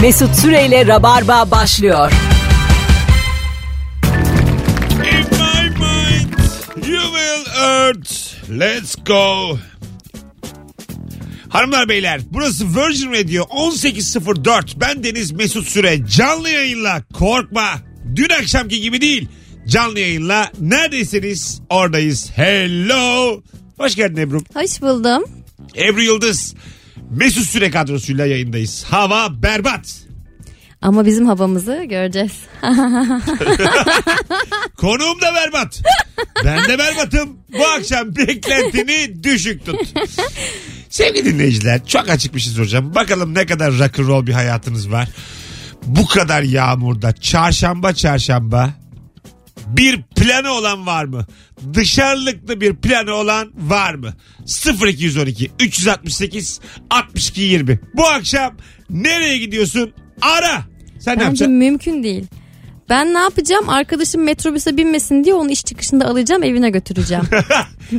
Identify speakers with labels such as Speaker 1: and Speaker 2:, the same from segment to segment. Speaker 1: Mesut Süreyle Rabarba başlıyor.
Speaker 2: In my mind, you will hurt. Let's go. Hanımlar beyler burası Virgin Radio 1804. Ben Deniz Mesut Süre. Canlı yayınla korkma. Dün akşamki gibi değil. Canlı yayınla neredesiniz oradayız. Hello. Hoş geldin Ebru.
Speaker 3: Hoş buldum.
Speaker 2: Ebru Yıldız. Mesut Süre kadrosuyla yayındayız. Hava berbat.
Speaker 3: Ama bizim havamızı göreceğiz.
Speaker 2: Konuğum da berbat. Ben de berbatım. Bu akşam beklentini düşük tut. Sevgili dinleyiciler çok açık bir şey soracağım. Bakalım ne kadar rock'n'roll bir hayatınız var. Bu kadar yağmurda çarşamba çarşamba bir planı olan var mı? Dışarılıklı bir planı olan var mı? 0212 368 62 20. Bu akşam nereye gidiyorsun? Ara. Sen ne
Speaker 3: Bence
Speaker 2: yapacaksın?
Speaker 3: mümkün değil. Ben ne yapacağım? Arkadaşım metrobüse binmesin diye onu iş çıkışında alacağım evine götüreceğim.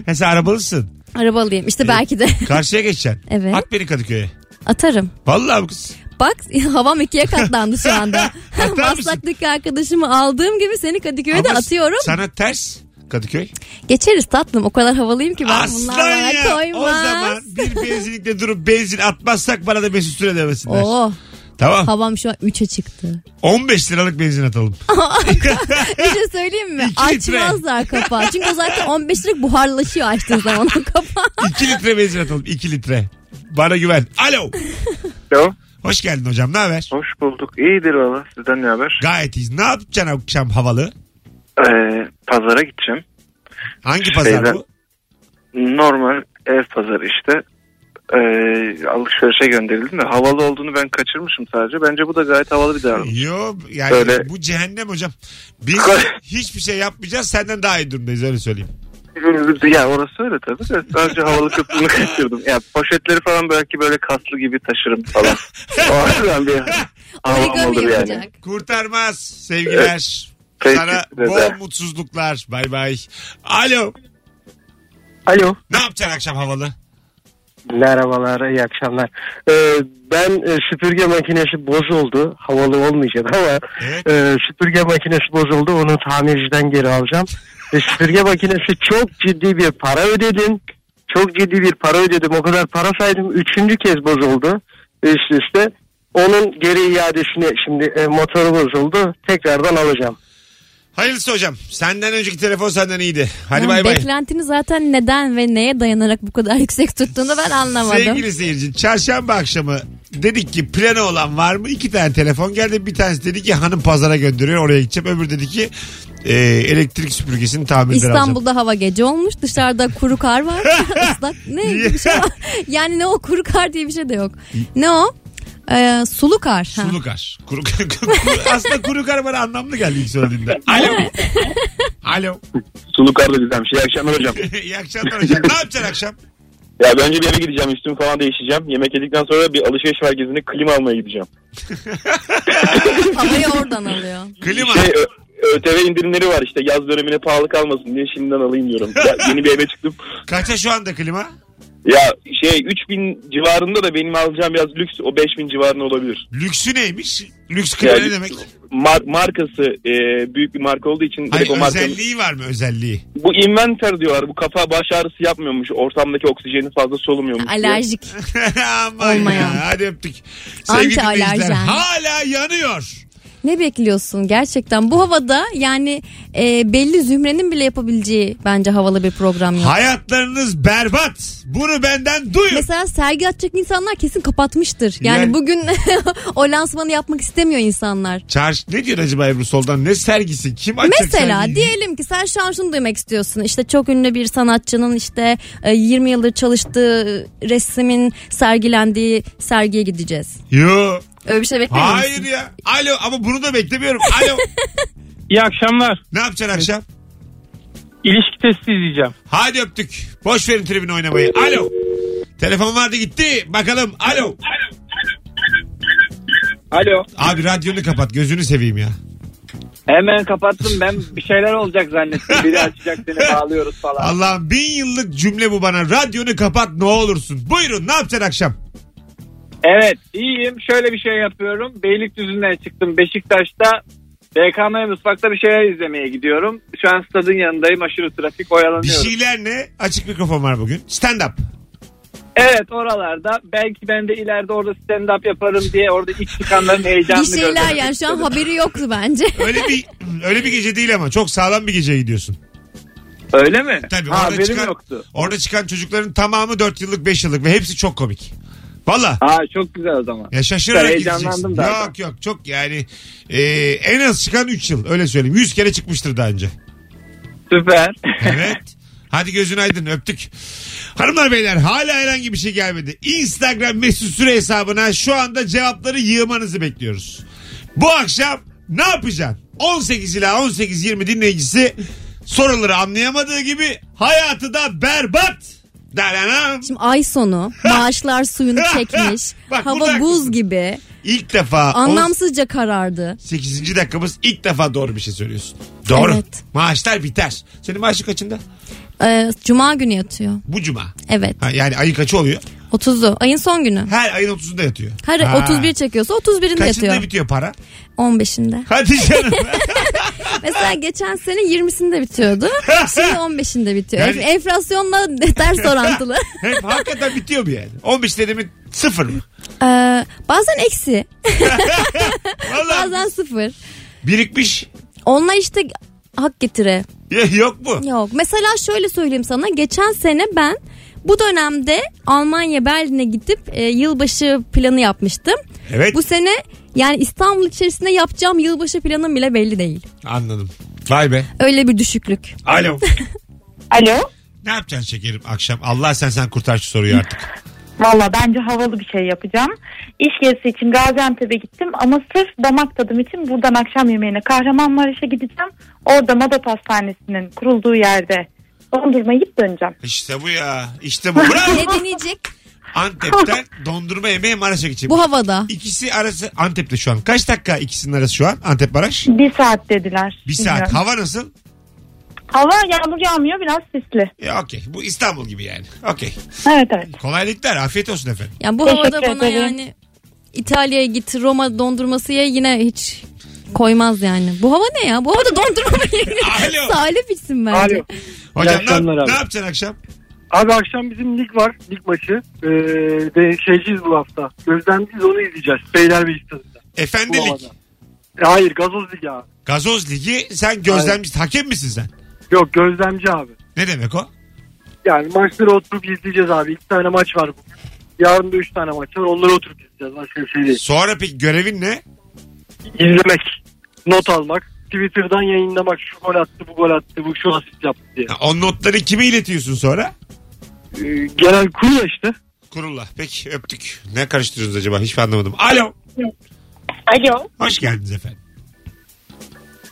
Speaker 2: Ha, sen arabalısın.
Speaker 3: Araba alayım. İşte belki de
Speaker 2: Karşıya geçeceksin.
Speaker 3: Evet.
Speaker 2: At beni Kadıköy'e.
Speaker 3: atarım.
Speaker 2: Vallahi bu kız.
Speaker 3: Bak havam ikiye katlandı şu anda.
Speaker 2: Atar mısın?
Speaker 3: Maslak'taki arkadaşımı aldığım gibi seni Kadıköy'e de
Speaker 2: Ama
Speaker 3: atıyorum.
Speaker 2: Sana ters Kadıköy.
Speaker 3: Geçeriz tatlım. O kadar havalıyım ki ben
Speaker 2: Aslan
Speaker 3: bunlarla
Speaker 2: ya.
Speaker 3: koymaz.
Speaker 2: O zaman bir benzinlikte durup benzin atmazsak bana da Mesut Süre demesinler.
Speaker 3: Oo,
Speaker 2: Tamam.
Speaker 3: Oh, havam şu an 3'e çıktı.
Speaker 2: 15 liralık benzin atalım.
Speaker 3: Bir şey söyleyeyim mi?
Speaker 2: İki Eh, litre.
Speaker 3: Açmazlar kapağı. Çünkü o zaten 15 lira buharlaşıyor açtığın zaman o kapağı.
Speaker 2: 2 litre benzin atalım. 2 litre. Bana güven. Alo.
Speaker 4: Alo.
Speaker 2: Hoş geldin hocam. Ne haber?
Speaker 4: Hoş bulduk. İyidir valla. Sizden ne haber?
Speaker 2: Gayet iyiyiz. Ne yapacaksın akşam havalı?
Speaker 4: Ee, pazara gideceğim.
Speaker 2: Hangi pazar
Speaker 4: Beyza.
Speaker 2: bu?
Speaker 4: Normal ev pazarı işte. Ee, alışverişe gönderildim de havalı olduğunu ben kaçırmışım sadece. Bence bu da gayet havalı bir davranış.
Speaker 2: Yo yani
Speaker 4: Böyle-
Speaker 2: bu cehennem hocam. Biz hiçbir şey yapmayacağız senden daha iyi durumdayız öyle söyleyeyim.
Speaker 4: ya orası öyle tabii de sadece havalı kısmını kaçırdım. Ya poşetleri falan belki böyle kaslı gibi taşırım falan. O yüzden bir havam
Speaker 3: Origami
Speaker 4: olur
Speaker 3: yapacak.
Speaker 4: yani.
Speaker 2: Kurtarmaz sevgiler.
Speaker 4: Teşekkür
Speaker 2: Sana
Speaker 4: ederim.
Speaker 2: bol mutsuzluklar. Bay bay. Alo.
Speaker 5: Alo.
Speaker 2: Ne yapacaksın akşam havalı?
Speaker 5: Merhabalar, iyi akşamlar. Ee, ben e, süpürge makinesi bozuldu. Havalı olmayacak ama
Speaker 2: Evet.
Speaker 5: e, süpürge makinesi bozuldu. Onu tamirciden geri alacağım. Ve süpürge makinesi çok ciddi bir para ödedim. Çok ciddi bir para ödedim. O kadar para saydım. Üçüncü kez bozuldu. Üst üste. Onun geri iadesini şimdi e, motoru bozuldu. Tekrardan alacağım.
Speaker 2: Hayırlısı hocam. Senden önceki telefon senden iyiydi. Hadi
Speaker 3: Yani
Speaker 2: bay bay.
Speaker 3: Beklentini zaten neden ve neye dayanarak bu kadar yüksek tuttuğunu ben anlamadım.
Speaker 2: Sevgili seyirci çarşamba akşamı dedik ki planı olan var mı? İki tane telefon geldi. Bir tanesi dedi ki hanım pazara gönderiyor oraya gideceğim. Öbürü dedi ki e, elektrik süpürgesini tamirden alacağım.
Speaker 3: İstanbul'da hava gece olmuş. Dışarıda kuru kar var. Islak ne gibi bir şey var. Yani ne o kuru kar diye bir şey de yok. Ne o? Ee, sulu kar. Ha.
Speaker 2: Sulu kar. Kuru, kuru- kuru- aslında kuru kar bana anlamlı geldi ilk söylediğinde. Alo. Alo.
Speaker 6: Sulu karlı güzelmiş. İyi akşamlar hocam.
Speaker 2: İyi akşamlar hocam. Ne yapacaksın akşam?
Speaker 6: Ya ben önce bir eve gideceğim. Üstümü falan değişeceğim. Yemek yedikten sonra bir alışveriş merkezine klima almaya gideceğim.
Speaker 3: Havayı oradan alıyor.
Speaker 2: Klima.
Speaker 6: Şey, ö- ÖTV indirimleri var işte. Yaz dönemine pahalı kalmasın diye şimdiden alayım diyorum. Ya, yeni bir eve çıktım.
Speaker 2: Kaça şu anda klima?
Speaker 6: Ya şey 3000 civarında da benim alacağım biraz lüks. O 5000 civarında olabilir.
Speaker 2: Lüksü neymiş? Lüks klima
Speaker 6: Yani-
Speaker 2: ne demek?
Speaker 6: Mar- markası e, büyük bir marka olduğu için direkt
Speaker 2: Hayır,
Speaker 6: o markanın...
Speaker 2: özelliği var mı özelliği?
Speaker 6: Bu inventor diyorlar. Bu kafa baş ağrısı yapmıyormuş. Ortamdaki oksijeni fazla solumuyormuş. diye.
Speaker 3: Alerjik.
Speaker 2: Aman
Speaker 3: Olmayan.
Speaker 2: ya, hadi öptük. Sevgili
Speaker 3: Anti-alerjen.
Speaker 2: dinleyiciler hala yanıyor.
Speaker 3: Ne bekliyorsun gerçekten? Bu havada yani e, belli zümrenin bile yapabileceği bence havalı bir program yok.
Speaker 2: Hayatlarınız berbat. Bunu benden duyun.
Speaker 3: Mesela sergi atacak insanlar kesin kapatmıştır. Yani,
Speaker 2: Yani-
Speaker 3: bugün o lansmanı yapmak istemiyor insanlar.
Speaker 2: Çarş ne diyor acaba Ebru Sol'dan? Ne sergisi? Kim açacak
Speaker 3: Mesela
Speaker 2: sergiyi?
Speaker 3: diyelim ki sen şu an şunu duymak istiyorsun. İşte çok ünlü bir sanatçının işte e, 20 yıldır çalıştığı resmin sergilendiği sergiye gideceğiz.
Speaker 2: Yo.
Speaker 3: Öyle bir şey beklemiyor
Speaker 2: Hayır
Speaker 3: musun?
Speaker 2: ya. Alo ama bunu da beklemiyorum. Alo.
Speaker 7: İyi akşamlar.
Speaker 2: ne yapacaksın akşam?
Speaker 7: İlişki testi izleyeceğim.
Speaker 2: Hadi öptük. Boş verin tribün oynamayı. Alo. Telefon vardı gitti. Bakalım. Alo.
Speaker 8: Alo.
Speaker 2: Abi radyonu kapat. Gözünü seveyim ya.
Speaker 8: Hemen kapattım ben bir şeyler olacak zannettim. Biri açacak seni bağlıyoruz falan.
Speaker 2: Allah'ım bin yıllık cümle bu bana. Radyonu kapat ne olursun. Buyurun ne yapacaksın akşam?
Speaker 9: Evet iyiyim. Şöyle bir şey yapıyorum. Beylikdüzü'nden çıktım. Beşiktaş'ta BKM mutfakta bir şeyler izlemeye gidiyorum. Şu an stadın yanındayım. Aşırı trafik
Speaker 2: Bir
Speaker 3: şey-
Speaker 9: oyalanıyorum.
Speaker 2: şeyler ne? Açık mikrofon var bugün. Stand up.
Speaker 9: Evet oralarda. Belki ben de ileride orada stand up yaparım diye orada ilk çıkanların heyecanını
Speaker 3: Bir şeyler
Speaker 9: gözlemek
Speaker 3: yani şu an
Speaker 9: istedim.
Speaker 3: haberi yoktu bence.
Speaker 2: Öyle bir öyle bir gece değil ama çok sağlam bir geceye gidiyorsun.
Speaker 9: Öyle mi?
Speaker 2: Tabii
Speaker 9: Ha,
Speaker 2: orada
Speaker 9: haberim
Speaker 2: çıkan
Speaker 9: yoktu.
Speaker 2: orada çıkan çocukların tamamı 4 yıllık 5 yıllık ve hepsi çok komik. Valla.
Speaker 9: Aa çok güzel o zaman.
Speaker 2: Ya şaşırarak
Speaker 9: Ben
Speaker 2: gideceksin.
Speaker 9: heyecanlandım zaten.
Speaker 2: Yok yok çok yani e, en az çıkan 3 yıl öyle söyleyeyim. 100 kere çıkmıştır daha önce.
Speaker 9: Süper.
Speaker 2: Evet. Hadi gözün aydın öptük. Hanımlar beyler hala herhangi bir şey gelmedi. Instagram mesut süre hesabına şu anda cevapları yığmanızı bekliyoruz. Bu akşam ne yapacaksın? 18 ila 18-20 dinleyicisi soruları anlayamadığı gibi hayatı da berbat. Dananam.
Speaker 3: Şimdi ay sonu maaşlar suyunu çekmiş.
Speaker 2: Bak, burada
Speaker 3: hava
Speaker 2: haklısın.
Speaker 3: buz gibi.
Speaker 2: İlk defa
Speaker 3: Anlamsızca karardı.
Speaker 2: 8. dakikamız ilk defa doğru bir şey söylüyorsun. Doğru.
Speaker 3: Evet.
Speaker 2: Maaşlar biter. Senin maaşın kaçında?
Speaker 3: Ee, Cuma günü yatıyor.
Speaker 2: Bu cuma.
Speaker 3: Evet.
Speaker 2: Ha, yani ayın kaçı oluyor?
Speaker 3: 30'u. Ayın son günü.
Speaker 2: Her ayın 30'unda yatıyor.
Speaker 3: Her
Speaker 2: Ha.
Speaker 3: 31 çekiyorsa 31'inde
Speaker 2: Kaçında
Speaker 3: yatıyor.
Speaker 2: bitiyor para?
Speaker 3: 15'inde.
Speaker 2: Hadi canım.
Speaker 3: Mesela geçen sene 20'sinde bitiyordu. Şimdi 15'inde bitiyor.
Speaker 2: Yani-
Speaker 3: Enflasyonla ters orantılı.
Speaker 2: Hep hakikaten bitiyor mu yani? 15 dedi mi sıfır mı?
Speaker 3: Ee, bazen eksi,
Speaker 2: Vallahi
Speaker 3: bazen sıfır.
Speaker 2: birikmiş.
Speaker 3: Onunla işte hak getire.
Speaker 2: Ya Yok mu?
Speaker 3: Yok. Mesela şöyle söyleyeyim sana. Geçen sene ben bu dönemde Almanya Berlin'e gidip e, yılbaşı planı yapmıştım.
Speaker 2: Evet
Speaker 3: Bu sene yani İstanbul içerisinde yapacağım yılbaşı planım bile belli değil.
Speaker 2: anladım. Vay be.
Speaker 3: Öyle bir düşüklük.
Speaker 2: Alo.
Speaker 10: Alo.
Speaker 2: ne yapacaksın şekerim akşam? Allah sen sen kurtar şu soruyu artık.
Speaker 10: Valla bence havalı bir şey yapacağım. İş gezisi için Gaziantep'e gittim ama sırf damak tadım için buradan akşam yemeğine Kahramanmaraş'a gideceğim. Orada Madat Hastanesi'nin kurulduğu yerde dondurma yiyip döneceğim.
Speaker 2: İşte bu ya. İşte bu. Bravo.
Speaker 3: Ne deneyecek
Speaker 2: Antep'ten dondurma yemeğe Maraş'a gideceğim.
Speaker 3: bu havada?
Speaker 2: İkisi arası Antep'te şu an. Kaç dakika ikisinin arası şu an? Antep Maraş.
Speaker 10: Bir saat dediler.
Speaker 2: Bir saat.
Speaker 10: Bilmiyorum.
Speaker 2: Hava nasıl?
Speaker 10: Hava yağmur yağmıyor biraz sisli.
Speaker 2: Ya okey. Bu İstanbul gibi yani. Okey.
Speaker 10: Evet evet.
Speaker 2: Kolaylıklar. Afiyet olsun efendim.
Speaker 3: Yani bu
Speaker 10: Teşekkür
Speaker 3: havada bana
Speaker 10: ederim.
Speaker 3: yani İtalya'ya git Roma dondurması ye yine hiç koymaz yani. Bu hava ne ya? Bu havada dondurma mı yenir?
Speaker 2: Alo.
Speaker 3: Salep içsin bence.
Speaker 11: Alo.
Speaker 2: Hocam ne,
Speaker 11: akşamlar abi.
Speaker 2: ne yapacaksın akşam?
Speaker 11: Abi akşam bizim lig var. Lig maçı. Ee, de, şeyciyiz bu hafta. Gözlemciyiz onu izleyeceğiz. Beylerbeyi stadında. Bu
Speaker 2: Efendilik.
Speaker 11: havada. E, hayır gazoz ligi abi.
Speaker 2: Gazoz Ligi sen gözlemci hakem misin sen?
Speaker 11: Yok gözlemci abi.
Speaker 2: Ne demek o?
Speaker 11: Yani maçları oturup izleyeceğiz abi. İki tane maç var bugün. Yarın da üç tane maç var. Onları oturup izleyeceğiz. Başka bir şey değil.
Speaker 2: Sonra peki görevin ne?
Speaker 11: İzlemek. Not almak. Twitter'dan yayınlamak. Şu gol attı, bu gol attı, bu şu asist yaptı diye.
Speaker 2: Ha, O notları kime iletiyorsun sonra?
Speaker 11: Ee, genel kurya işte.
Speaker 2: Kurulla. Peki öptük. Ne karıştırıyorsunuz acaba? Hiç anlamadım. Alo.
Speaker 10: Alo.
Speaker 2: Hoş geldiniz efendim.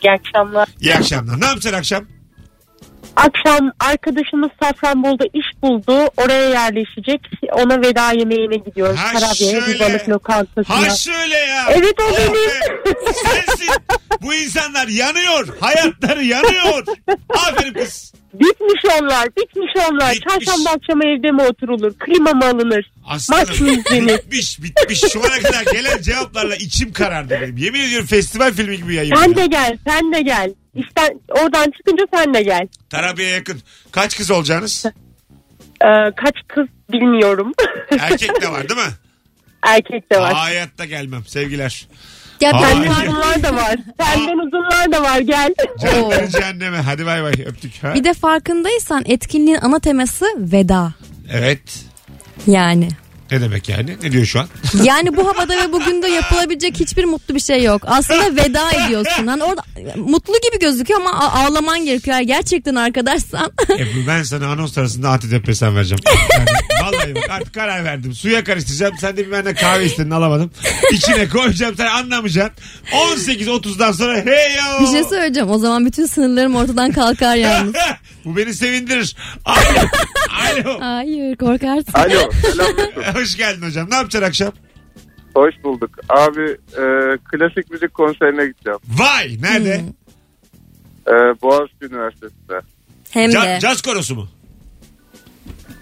Speaker 10: İyi akşamlar.
Speaker 2: İyi akşamlar. Ne yapacaksın akşam?
Speaker 10: Akşam arkadaşımız Safranbolu'da iş buldu. Oraya yerleşecek. Ona veda yemeğine gidiyoruz.
Speaker 2: Ha Karabiye, şöyle. bir balık
Speaker 10: lokantasına.
Speaker 2: Ha şöyle ya.
Speaker 10: Evet, o
Speaker 2: Oh
Speaker 10: benim.
Speaker 2: be. Sensin. Bu insanlar yanıyor. Hayatları yanıyor. Aferin kız.
Speaker 10: Bitmiş onlar, bitmiş onlar.
Speaker 2: Bitmiş.
Speaker 10: Çarşamba akşamı evde mi oturulur? Klima mı alınır? Maç mı
Speaker 2: Aslanım
Speaker 10: izlenir?
Speaker 2: bitmiş bitmiş. Şu ana kadar gelen cevaplarla içim karardı benim. Yemin ediyorum festival filmi gibi yayın.
Speaker 10: Sen de gel, sen de gel. İşten, oradan çıkınca sen de gel.
Speaker 2: Tarabya'ya yakın. Kaç kız olacaksınız?
Speaker 10: Ee, kaç kız bilmiyorum.
Speaker 2: Erkek de var değil mi?
Speaker 10: Erkek de var.
Speaker 2: Hayatta gelmem sevgiler.
Speaker 3: Ya ben
Speaker 2: Ay.
Speaker 10: Senden uzunlar da var. Senden uzunlar da var gel.
Speaker 2: Canları cehenneme. Hadi bay bay öptük. Ha?
Speaker 3: Bir de farkındaysan etkinliğin ana teması veda.
Speaker 2: Evet.
Speaker 3: Yani.
Speaker 2: Ne demek yani? Ne diyor şu an?
Speaker 3: Yani bu havada ve bugün de yapılabilecek hiçbir mutlu bir şey yok. Aslında veda ediyorsun. Hani orada mutlu gibi gözüküyor ama a- ağlaman gerekiyor. Eğer gerçekten arkadaşsan.
Speaker 2: Ebru E, ben sana anons arasında antidepresan vereceğim. Yani, vallahi bak artık karar verdim. Suya karıştıracağım. Sen de bir benden kahve istedin alamadım. İçine koyacağım sen anlamayacaksın. 18.30'dan sonra hey yo.
Speaker 3: bir şey söyleyeceğim. O zaman bütün sınırlarım ortadan kalkar yalnız.
Speaker 2: Bu beni sevindirir. Alo. Alo.
Speaker 3: Hayır korkarsın.
Speaker 12: Alo selam Mesut.
Speaker 2: Hoş geldin hocam. Ne yapacaksın akşam?
Speaker 12: Hoş bulduk. Abi e, klasik müzik konserine gideceğim.
Speaker 2: Vay. Nerede?
Speaker 3: Hmm,
Speaker 12: E, Boğaziçi Üniversitesi'nde.
Speaker 3: Hem
Speaker 2: Ca-
Speaker 3: de.
Speaker 2: caz korosu mu?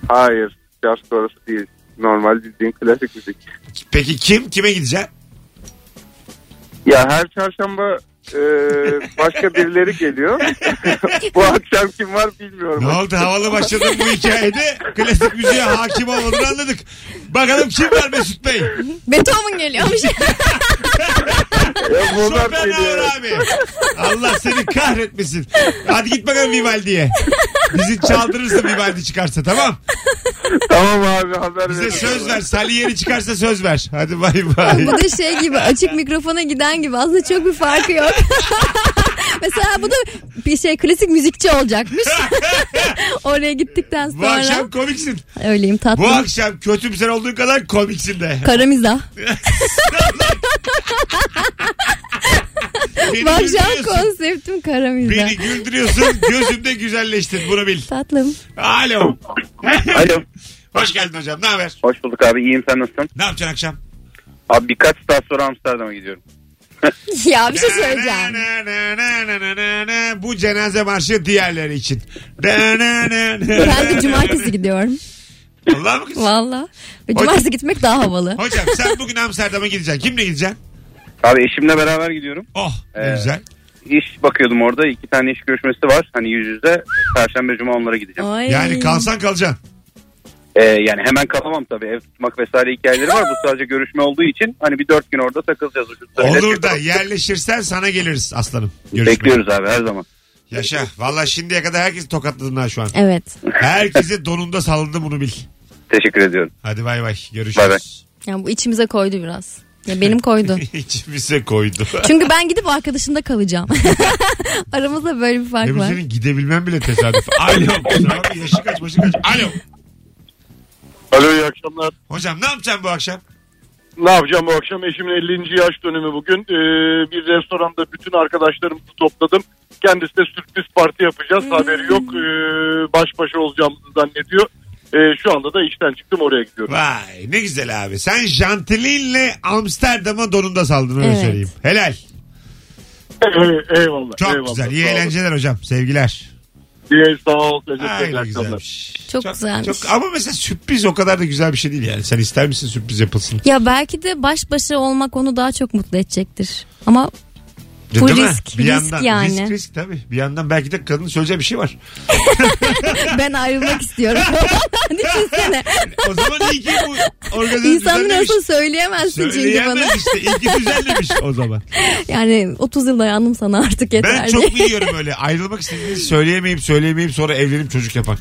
Speaker 12: Hayır. Jazz korosu değil.
Speaker 4: Normal bildiğin klasik müzik.
Speaker 2: Peki kim? Kime gideceksin?
Speaker 4: Ya her çarşamba e, başka birileri geliyor. Bu akşam kim var bilmiyorum.
Speaker 2: Ne oldu? Havalı başladın bu hikayede. Klasik müziğe hakim olmadığını anladık. Bakalım kim var Mesut Bey?
Speaker 3: Beethoven geliyormuş.
Speaker 4: Ya bunlar
Speaker 2: Chopin ağır
Speaker 4: geliyor.
Speaker 2: abi. Allah seni kahretmesin. Hadi git bakalım Vivaldi'ye. Bizi çaldırırsın Vivaldi çıkarsa tamam.
Speaker 4: Tamam abi haber
Speaker 2: Bize
Speaker 4: verin.
Speaker 2: söz ver. Salieri çıkarsa söz ver. Hadi bay bay.
Speaker 3: Bu da şey gibi açık mikrofona giden gibi aslında çok bir farkı yok. Mesela bu da bir şey klasik müzikçi olacakmış. Oraya gittikten
Speaker 2: Bu
Speaker 3: sonra.
Speaker 2: akşam komiksin.
Speaker 3: Öyleyim tatlı.
Speaker 2: Bu akşam kötümser olduğun kadar komiksin de.
Speaker 3: Karamiza.
Speaker 2: Beni
Speaker 3: Bu akşam
Speaker 2: güldürüyorsun.
Speaker 3: konseptim karamiza.
Speaker 2: Beni güldürüyorsun. Gözümde güzelleştin. Bunu bil.
Speaker 3: Tatlım.
Speaker 2: Alo.
Speaker 4: Alo.
Speaker 2: Hoş geldin hocam. Ne haber?
Speaker 4: Hoş bulduk abi iyiyim sen nasılsın?
Speaker 2: Ne yapacaksın akşam?
Speaker 4: Abi birkaç saat sonra Amsterdam'a gidiyorum.
Speaker 3: Ya bir şey söyleyeceğim.
Speaker 2: Na, na, na, na, na, na, na. Bu cenaze marşı diğerleri için. Na, na, na, na,
Speaker 3: Ben
Speaker 2: na,
Speaker 3: de
Speaker 2: na.
Speaker 3: cumartesi gidiyorum.
Speaker 2: Allah mı kız?
Speaker 3: Valla. Cumartesi gitmek daha havalı.
Speaker 2: Hocam sen bugün Amsterdam'a gideceksin. Kimle gideceksin?
Speaker 4: Abi eşimle beraber gidiyorum.
Speaker 2: Oh ne
Speaker 4: Ee,
Speaker 2: güzel.
Speaker 4: İş bakıyordum orada. iki tane iş görüşmesi var. Hani yüz yüze. Perşembe cuma onlara gideceğim.
Speaker 3: Ay.
Speaker 2: Yani kalsan kalacaksın.
Speaker 4: Ee, yani hemen kalamam tabii. Ev tutmak vesaire hikayeleri var. Bu sadece görüşme olduğu için hani bir dört gün orada takılacağız. Ucuzda bilet
Speaker 2: Olur da
Speaker 4: yapalım.
Speaker 2: yerleşirsen sana geliriz aslanım. Görüşmek.
Speaker 4: Bekliyoruz abi her zaman.
Speaker 2: Yaşa. Valla şimdiye kadar herkesi tokatladın ha şu an.
Speaker 3: Evet.
Speaker 2: Herkesi donunda salındı bunu bil.
Speaker 4: Teşekkür ediyorum.
Speaker 2: Hadi bay bay. Görüşürüz.
Speaker 4: Bay bay.
Speaker 3: Yani bu içimize koydu biraz. Ya benim koydu.
Speaker 2: İçimize koydu.
Speaker 3: Çünkü ben gidip arkadaşımda kalacağım. Aramızda böyle bir fark
Speaker 2: Hem
Speaker 3: var.
Speaker 2: senin gidebilmem bile tesadüf. Alo. Kusura bakma, Yaşı kaç başı kaç. Alo.
Speaker 7: Alo iyi akşamlar.
Speaker 2: Hocam ne yapacaksın bu akşam?
Speaker 7: Ne yapacağım bu akşam? Eşimin 50. yaş dönümü bugün. Ee, bir restoranda bütün arkadaşlarımızı topladım. Kendisi de sürpriz parti yapacağız. Haberi yok. Ee, baş başa olacağımızı zannediyor. Ee, şu anda da işten çıktım oraya gidiyorum.
Speaker 2: Vay ne güzel abi. Sen jantilinle Amsterdam'a donunda saldın öyle
Speaker 3: Evet.
Speaker 2: söyleyeyim. Helal.
Speaker 7: Ee, eyvallah.
Speaker 2: Çok
Speaker 7: eyvallah.
Speaker 2: güzel. İyi
Speaker 7: Sağ olun.
Speaker 2: eğlenceler hocam. Sevgiler.
Speaker 7: İyi sağ ol. Teşekkür
Speaker 2: Ay, ne
Speaker 7: ederim. akşamlar.
Speaker 2: güzelmiş.
Speaker 3: Çok güzelmiş.
Speaker 2: ama mesela sürpriz o kadar da güzel bir şey değil yani. Sen ister misin sürpriz yapılsın?
Speaker 3: Ya belki de baş başa olmak onu daha çok mutlu edecektir. Ama
Speaker 2: Değil mi?
Speaker 3: risk, risk
Speaker 2: yandan,
Speaker 3: yani.
Speaker 2: Risk risk tabii. Bir yandan belki de kadının söyleyeceği bir şey var.
Speaker 3: ben ayrılmak istiyorum. Hani Düşünsene.
Speaker 2: O zaman iyi ki bu organizasyon
Speaker 3: İnsan
Speaker 2: düzenlemiş.
Speaker 3: nasıl söyleyemezsin çünkü bana.
Speaker 2: Söyleyemez işte. İyi ki düzenlemiş o zaman.
Speaker 3: Yani 30 yıl dayandım sana artık yeter
Speaker 2: Ben
Speaker 3: diye.
Speaker 2: çok biliyorum öyle. Ayrılmak istediğinizi söyleyemeyip söyleyemeyip sonra evlenip çocuk yapan.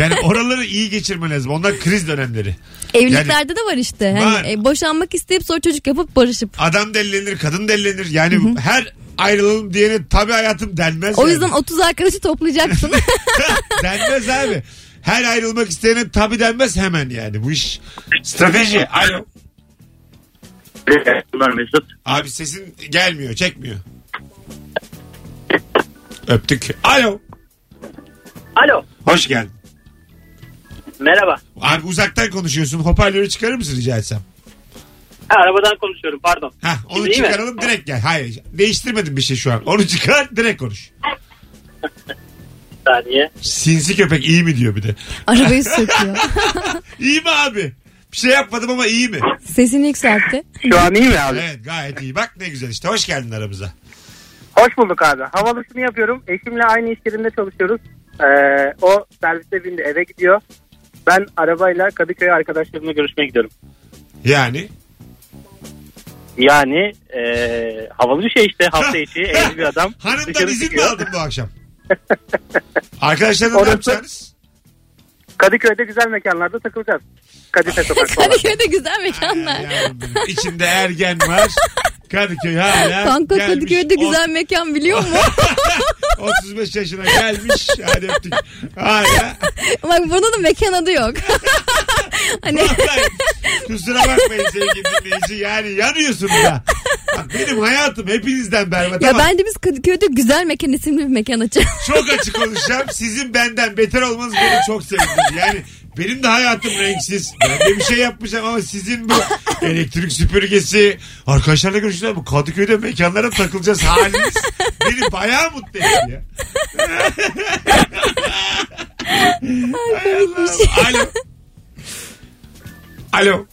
Speaker 2: Yani oraları iyi geçirmen lazım. Onlar kriz dönemleri.
Speaker 3: Evliliklerde de var işte. Hani
Speaker 2: Var.
Speaker 3: e, boşanmak isteyip sonra çocuk yapıp barışıp.
Speaker 2: Adam delilenir, kadın delilenir. Yani her ayrılalım diyene tabii hayatım denmez.
Speaker 3: O
Speaker 2: yani.
Speaker 3: yüzden 30 arkadaşı toplayacaksın.
Speaker 2: denmez abi. Her ayrılmak isteyene tabi denmez hemen yani. Bu iş strateji. Alo.
Speaker 5: İyi akşamlar Mesut.
Speaker 2: Abi sesin gelmiyor, çekmiyor. Öptük. Alo.
Speaker 8: Alo
Speaker 2: Hoş geldin.
Speaker 8: merhaba.
Speaker 2: Abi uzaktan konuşuyorsun. Hoparlörü çıkarır mısın rica etsem?
Speaker 8: Ha, arabadan konuşuyorum pardon.
Speaker 2: Hah, onu
Speaker 8: Değil mi?
Speaker 2: çıkaralım direkt gel. Hayır değiştirmedim bir şey şu an. Onu çıkar direkt konuş.
Speaker 8: Bir saniye.
Speaker 2: Sinsi köpek iyi mi diyor bir de.
Speaker 3: Arabayı sürtüyor.
Speaker 2: İyi mi abi? Bir şey yapmadım ama iyi mi?
Speaker 3: Sesini yükseltti.
Speaker 5: Şu an iyi mi abi?
Speaker 2: Evet gayet iyi. Bak ne güzel işte. Hoş geldin aramıza.
Speaker 13: Hoş bulduk abi. Havalısını yapıyorum. Eşimle aynı iş yerinde çalışıyoruz. Ee, o servise bindi eve gidiyor. Ben arabayla Kadıköy arkadaşlarımla görüşmeye gidiyorum.
Speaker 2: Yani
Speaker 13: Yani e, havalı bir şey işte hafta içi evli bir adam.
Speaker 2: Hanımdan
Speaker 13: dışarı
Speaker 2: izin mi
Speaker 13: çıkıyor.
Speaker 2: aldın bu akşam? Arkadaşlarla ne
Speaker 13: Orası-
Speaker 2: yapacaksınız?
Speaker 13: Kadıköy'de güzel mekanlarda takılacağız. Kadıköy sokak falan.
Speaker 3: Kadıköy'de güzel mekanlar.
Speaker 2: Ay, yavrum benim. İçinde ergen var. Kadıköy hala
Speaker 3: Kanka
Speaker 2: gelmiş.
Speaker 3: Kadıköy'de
Speaker 2: Ot-
Speaker 3: güzel mekan biliyor musun?
Speaker 2: 35 yaşına gelmiş. Hadi öptük. Hala.
Speaker 3: Bak burada da mekan adı yok. hani
Speaker 2: Vallahi Kusura bakmayın sevgili dinleyici. Yani yanıyorsun da. Bak benim hayatım hepinizden berbat
Speaker 3: ya
Speaker 2: ama
Speaker 3: bence biz Kadıköy'de güzel mekan isimli bir mekan açalım.
Speaker 2: çok açık konuşacağım. Sizin benden beter olmanız beni çok sevindirdi. Yani benim de hayatım renksiz. Ben de bir şey yapmayacağım ama sizin bu elektrik süpürgesi, arkadaşlarla görüştüler bu Kadıköy'de mekanlara takılacağız haliniz beni bayağı mutlu etti ya. Alo. Alo.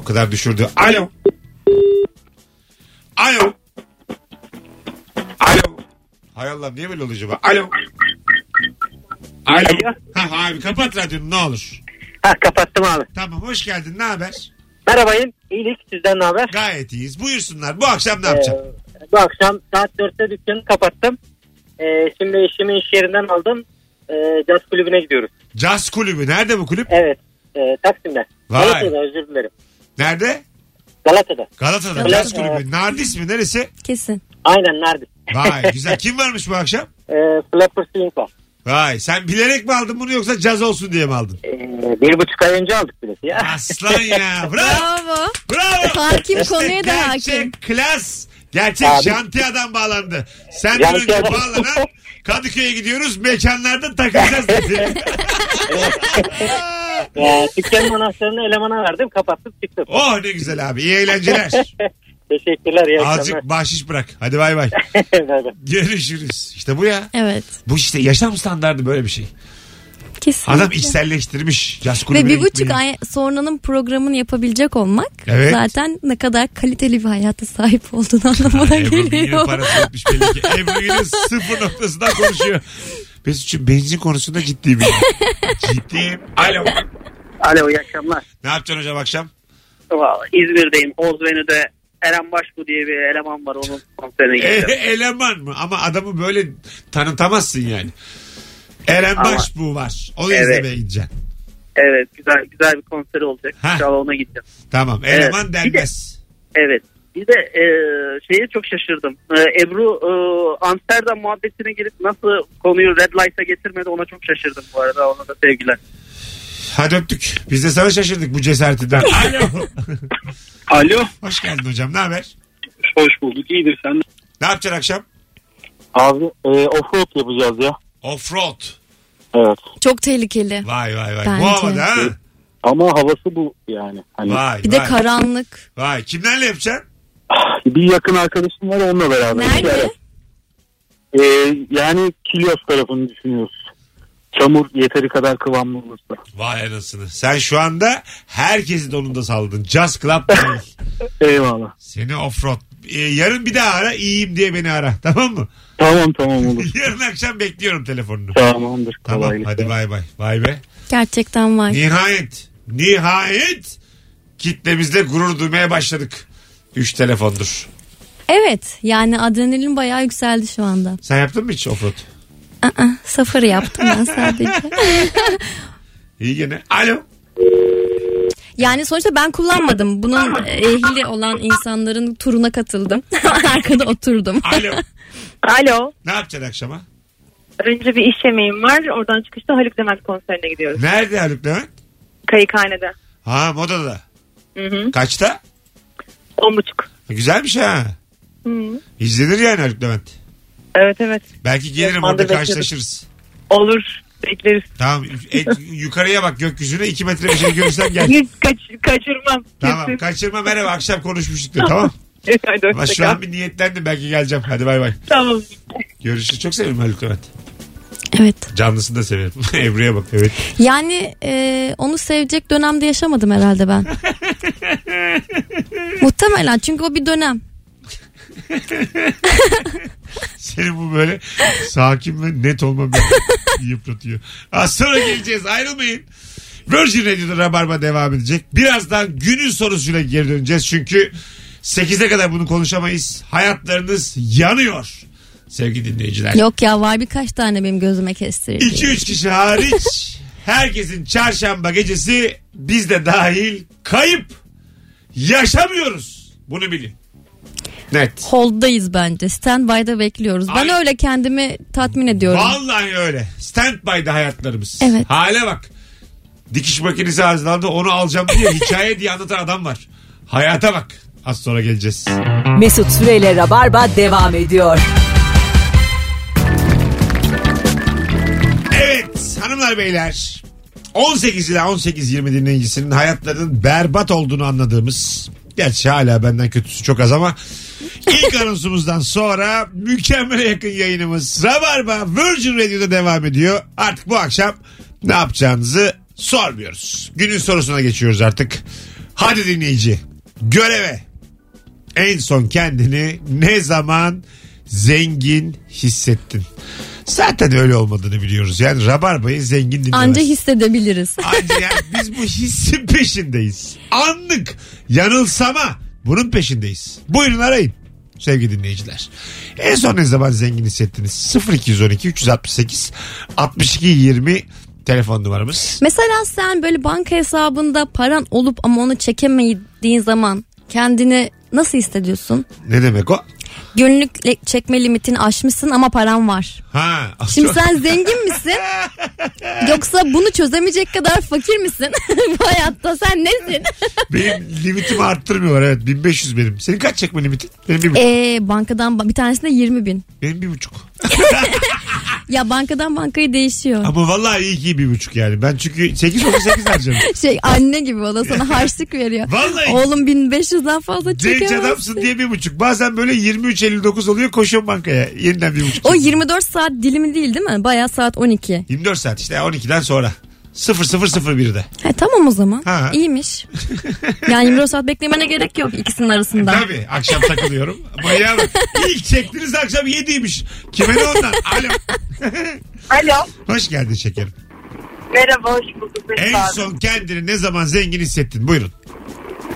Speaker 2: O kadar düşürdü. Alo. Alo. Alo. Hay Allah niye böyle oluyor acaba? Alo. Alo. Ha, abi kapat radyonu ne olur.
Speaker 14: Ha kapattım abi.
Speaker 2: Tamam hoş geldin ne haber?
Speaker 14: Merhabayım. İyilik sizden ne haber?
Speaker 2: Gayet iyiyiz. Buyursunlar bu akşam ne yapacağım?
Speaker 14: Ee, bu akşam saat 4'te dükkanı kapattım. Ee, şimdi eşimi iş yerinden aldım. Ee, caz kulübüne gidiyoruz.
Speaker 2: Caz kulübü. Nerede bu kulüp?
Speaker 14: Evet. E, Taksim'de.
Speaker 2: Vay.
Speaker 14: Galata'da özür dilerim.
Speaker 2: Nerede?
Speaker 14: Galata'da.
Speaker 2: Galata'da
Speaker 14: Galata-
Speaker 2: caz kulübü. Nardis mi neresi?
Speaker 3: Kesin.
Speaker 14: Aynen nerede?
Speaker 2: Vay güzel. Kim varmış bu akşam?
Speaker 14: E, Flapper Swing var.
Speaker 2: Vay sen bilerek mi aldın bunu yoksa caz olsun diye mi aldın?
Speaker 14: Ee, bir buçuk ay önce aldık bileti ya.
Speaker 2: Aslan ya. Bravo.
Speaker 3: Bravo.
Speaker 2: Bravo.
Speaker 3: Hakim konuya da
Speaker 2: Gerçek
Speaker 3: hakim.
Speaker 2: klas. Gerçek
Speaker 14: Abi.
Speaker 2: şantiyadan bağlandı. Sen
Speaker 14: Janti
Speaker 2: önce
Speaker 14: adam.
Speaker 2: bağlanan Kadıköy'e gidiyoruz. Mekanlarda takılacağız dedi.
Speaker 14: Ee, dükkanın anahtarını elemana verdim. Kapattım çıktım.
Speaker 2: oh ne güzel abi. İyi eğlenceler.
Speaker 14: Teşekkürler. iyi
Speaker 2: Azıcık
Speaker 14: akşamlar.
Speaker 2: bahşiş bırak. Hadi bay bay.
Speaker 14: Bay bay.
Speaker 2: Görüşürüz. İşte bu ya.
Speaker 3: Evet.
Speaker 2: Bu işte yaşam standardı böyle bir şey.
Speaker 3: Kesin.
Speaker 2: Adam içselleştirmiş. Caz
Speaker 3: Ve
Speaker 2: kulübüne
Speaker 3: bir buçuk
Speaker 2: gitmeyi.
Speaker 3: ay sonranın programını yapabilecek olmak
Speaker 2: Evet.
Speaker 3: zaten ne kadar kaliteli bir hayata sahip olduğunu
Speaker 2: Ha,
Speaker 3: anlamına
Speaker 2: Ebru Gün'ün
Speaker 3: geliyor.
Speaker 2: parası yetmiş belli ki. Ebru Gün'ün sıfır noktasından konuşuyor. Mesut'cum benzin konusunda ciddiyim. yani. ciddiyim. Alo.
Speaker 15: Alo iyi akşamlar.
Speaker 2: Ne yapacaksın hocam akşam?
Speaker 15: Valla İzmir'deyim. Ozvenü'de Eren Başbu diye bir eleman var. Onun konserine
Speaker 2: E,
Speaker 15: gideceğim.
Speaker 2: eleman mı? Ama adamı böyle tanıtamazsın yani. Eren
Speaker 15: Ama-
Speaker 2: Başbuğ var. Onu
Speaker 15: Evet.
Speaker 2: izlemeye gideceksin.
Speaker 15: evet güzel güzel bir konser olacak.
Speaker 2: Hah.
Speaker 15: İnşallah ona gideceğim.
Speaker 2: Tamam.
Speaker 15: Evet.
Speaker 2: Eleman
Speaker 15: Bir de-
Speaker 2: denmez.
Speaker 15: Evet. Bir de e, şeye çok şaşırdım. E, Ebru e, Amsterdam muhabbetine girip nasıl konuyu Red Light'a getirmedi ona çok şaşırdım bu arada. Ona da sevgiler.
Speaker 2: Hadi öptük. Biz de sana şaşırdık bu cesaretinden. Alo.
Speaker 11: Alo.
Speaker 2: Hoş geldin hocam. Ne haber?
Speaker 11: Hoş bulduk. İyidir sen.
Speaker 2: Ne yapacaksın akşam?
Speaker 11: Abi e, offroad yapacağız ya.
Speaker 2: Offroad.
Speaker 11: Evet.
Speaker 3: Çok tehlikeli.
Speaker 2: Vay vay vay.
Speaker 3: Bence.
Speaker 2: Bu havada ha?
Speaker 11: Ama havası bu yani. Hani
Speaker 2: Vay
Speaker 3: Bir de
Speaker 2: vay.
Speaker 3: karanlık.
Speaker 2: Vay. Kimlerle yapacaksın?
Speaker 11: bir yakın arkadaşım var onunla beraber.
Speaker 3: Nerede?
Speaker 11: E, yani Kilyos tarafını düşünüyoruz. Çamur yeteri kadar kıvamlı olursa.
Speaker 2: Vay anasını. Sen şu anda herkesi donunda saldın. Just Club değil.
Speaker 11: Eyvallah.
Speaker 2: Seni offroad. Ee, yarın bir daha ara. iyiyim diye beni ara. Tamam mı?
Speaker 11: Tamam tamam olur.
Speaker 2: Yarın akşam bekliyorum telefonunu.
Speaker 11: Tamamdır.
Speaker 2: Tamam.
Speaker 11: Kolaylıkla.
Speaker 2: Hadi bay bay. Vay be.
Speaker 3: Gerçekten var.
Speaker 2: Nihayet. Nihayet kitlemizle gurur duymaya başladık. Üç telefondur.
Speaker 3: Evet yani adrenalin bayağı yükseldi şu anda.
Speaker 2: Sen yaptın mı hiç offroad?
Speaker 3: Aa, sıfır yaptım ben sadece.
Speaker 2: İyi gene. Alo.
Speaker 3: Yani sonuçta ben kullanmadım. Bunun e, ehli olan insanların turuna katıldım. Arkada oturdum.
Speaker 2: Alo.
Speaker 16: Alo.
Speaker 2: Ne yapacaksın akşama?
Speaker 16: Önce bir iş yemeğim var. Oradan çıkışta Haluk Levent konserine gidiyoruz.
Speaker 2: Nerede Haluk Levent?
Speaker 16: Kayıkhanede.
Speaker 2: Ha modada.
Speaker 16: Hı hı.
Speaker 2: Kaçta?
Speaker 16: On buçuk.
Speaker 2: Güzelmiş ha.
Speaker 16: Hı.
Speaker 2: İzlenir yani Haluk Levent.
Speaker 16: Evet evet.
Speaker 2: Belki gelirim
Speaker 16: Osman'da
Speaker 2: orada
Speaker 16: bekliyoruz.
Speaker 2: karşılaşırız.
Speaker 16: Olur. Bekleriz.
Speaker 2: Tamam e, yukarıya bak gökyüzüne 2 metre bir şey görürsen gel.
Speaker 16: Hiç kaç- kaçırmam.
Speaker 2: tamam
Speaker 16: Kesin.
Speaker 2: kaçırma merhaba akşam konuşmuştuk da tamam.
Speaker 16: Evet, hadi
Speaker 2: Ama
Speaker 16: hoşça
Speaker 2: şu
Speaker 16: kal.
Speaker 2: an bir niyetlendim belki geleceğim. Hadi bay bay.
Speaker 16: Tamam.
Speaker 2: Görüşürüz. Çok severim Haluk Levent.
Speaker 3: Evet.
Speaker 2: Canlısını da severim. Ebru'ya bak evet.
Speaker 3: Yani e, onu sevecek dönemde yaşamadım herhalde ben. Muhtemelen çünkü o bir dönem.
Speaker 2: Senin bu böyle sakin ve net olman beni yıpratıyor. Az sonra geleceğiz ayrılmayın. Virgin Radio'da Rabarba devam edecek. Birazdan günün sorusuyla geri döneceğiz. Çünkü 8'e kadar bunu konuşamayız. Hayatlarınız yanıyor sevgili dinleyiciler.
Speaker 3: Yok ya var birkaç tane benim gözüme kestirildi.
Speaker 2: 2-3 kişi hariç herkesin çarşamba gecesi biz de dahil kayıp yaşamıyoruz. Bunu bilin. Net.
Speaker 3: Hold'dayız bence. Standby'da bekliyoruz. Ben
Speaker 2: Ay.
Speaker 3: öyle kendimi tatmin ediyorum.
Speaker 2: Vallahi öyle. Standby'de hayatlarımız.
Speaker 3: Evet.
Speaker 2: Hale bak. Dikiş makinesi hazırlandı onu alacağım diye hikaye diye anlatan adam var. Hayata bak. Az sonra geleceğiz.
Speaker 1: Mesut Süreyle Rabarba devam ediyor.
Speaker 2: Evet hanımlar beyler 18 ile 18-20 dinleyicisinin hayatlarının berbat olduğunu anladığımız Gerçi hala benden kötüsü çok az ama ilk anonsumuzdan sonra mükemmele yakın yayınımız Rabarba Virgin Radio'da devam ediyor. Artık bu akşam ne yapacağınızı sormuyoruz. Günün sorusuna geçiyoruz artık. Hadi dinleyici. Göreve. En son kendini ne zaman zengin hissettin? Zaten öyle olmadığını biliyoruz. Yani Rabarba'yı zengin dinlemez.
Speaker 3: Anca hissedebiliriz.
Speaker 2: Anca yani biz bu hissin peşindeyiz. Anlık yanılsama bunun peşindeyiz. Buyurun arayın sevgili dinleyiciler. En son ne zaman zengin hissettiniz? 0212 368 62 20 telefon numaramız.
Speaker 3: Mesela sen böyle banka hesabında paran olup ama onu çekemediğin zaman kendini nasıl hissediyorsun?
Speaker 2: Ne demek o?
Speaker 3: Günlük le- çekme limitini aşmışsın ama paran var.
Speaker 2: Ha.
Speaker 3: Şimdi sen zengin misin? Yoksa bunu çözemeyecek kadar fakir misin? Bu hayatta sen nesin?
Speaker 2: Benim limitimi arttırmıyorlar evet. 1500 benim. Senin kaç çekme limitin? Benim bir buçuk.
Speaker 3: Ee, bankadan ba- bir tanesinde 20 bin.
Speaker 2: Benim bir buçuk.
Speaker 3: Ya bankadan bankaya değişiyor.
Speaker 2: Ama vallahi iyi ki bir buçuk yani. Ben çünkü 8 oldu 8 harcadım.
Speaker 3: Şey anne gibi o da sana harçlık veriyor.
Speaker 2: Vallahi.
Speaker 3: Oğlum 1500'den fazla
Speaker 2: Genç adamsın
Speaker 3: çekemezsin.
Speaker 2: diye bir buçuk. Bazen böyle 23.59 oluyor koşuyorum bankaya. Yeniden bir buçuk.
Speaker 3: O 24 saat dilimi değil değil mi? Bayağı saat 12.
Speaker 2: 24 saat işte 12'den sonra. 0001'de.
Speaker 3: He, tamam o zaman.
Speaker 2: Ha.
Speaker 3: İyiymiş. yani 24 saat beklemene gerek yok ikisinin arasında.
Speaker 2: Tabii akşam takılıyorum. Bayağı ilk çektiniz akşam 7'ymiş. Kime ne ondan? Alo.
Speaker 17: Alo.
Speaker 2: Hoş geldin şekerim.
Speaker 17: Merhaba hoş bulduk. Mesut
Speaker 2: En
Speaker 17: abi.
Speaker 2: son kendini ne zaman zengin hissettin? Buyurun.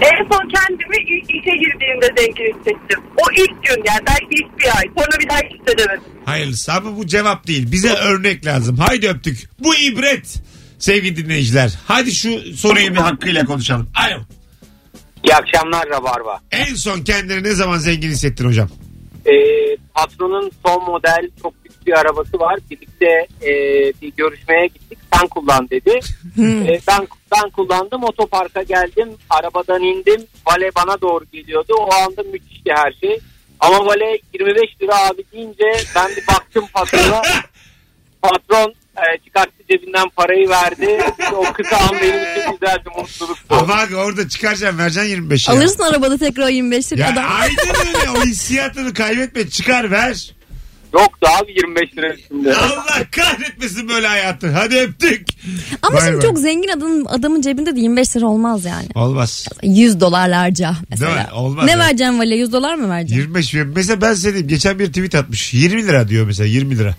Speaker 17: En son kendimi ilk işe girdiğimde zengin hissettim. O ilk gün yani belki ilk bir ay. Sonra bir daha hiç hissedemedim.
Speaker 2: Hayırlısı ama bu cevap değil. Bize örnek lazım. Haydi öptük. Bu ibret sevgili dinleyiciler. Hadi şu soruyu bir hakkıyla konuşalım. Alo.
Speaker 18: İyi akşamlar Rabarba.
Speaker 2: En son kendini ne zaman zengin hissettin hocam?
Speaker 18: Ee, patronun son model çok lüks bir arabası var. Birlikte e, bir görüşmeye gittik. Sen kullan dedi. Ee, ben ben kullandım. Otoparka geldim. Arabadan indim. Vale bana doğru geliyordu. O anda müthişti her şey. Ama vale 25 lira abi deyince ben bir baktım patrona. Patron e, çıkarttı cebinden parayı verdi. O kısa an benim için güzel bir mutluluk.
Speaker 2: Ama abi orada çıkaracağım vereceksin 25 ya.
Speaker 3: Alırsın arabada tekrar 25 lira
Speaker 2: Ya
Speaker 3: adam.
Speaker 2: aynen öyle. O hissiyatını kaybetme. Çıkar ver.
Speaker 18: Yoktu abi 25 lira üstünde.
Speaker 2: Allah kahretmesin böyle hayatı. Hadi öptük.
Speaker 3: Ama
Speaker 2: Vay
Speaker 3: şimdi
Speaker 2: vay.
Speaker 3: çok zengin adamın, adamın cebinde de 25 lira olmaz yani.
Speaker 2: Olmaz.
Speaker 3: 100 dolarlarca mesela.
Speaker 2: Değil mi? Olmaz.
Speaker 3: ne
Speaker 2: ya.
Speaker 3: vereceksin vale 100 dolar mı vereceksin?
Speaker 2: 25 ve- mesela ben size diyeyim geçen bir tweet atmış 20 lira diyor mesela 20 lira.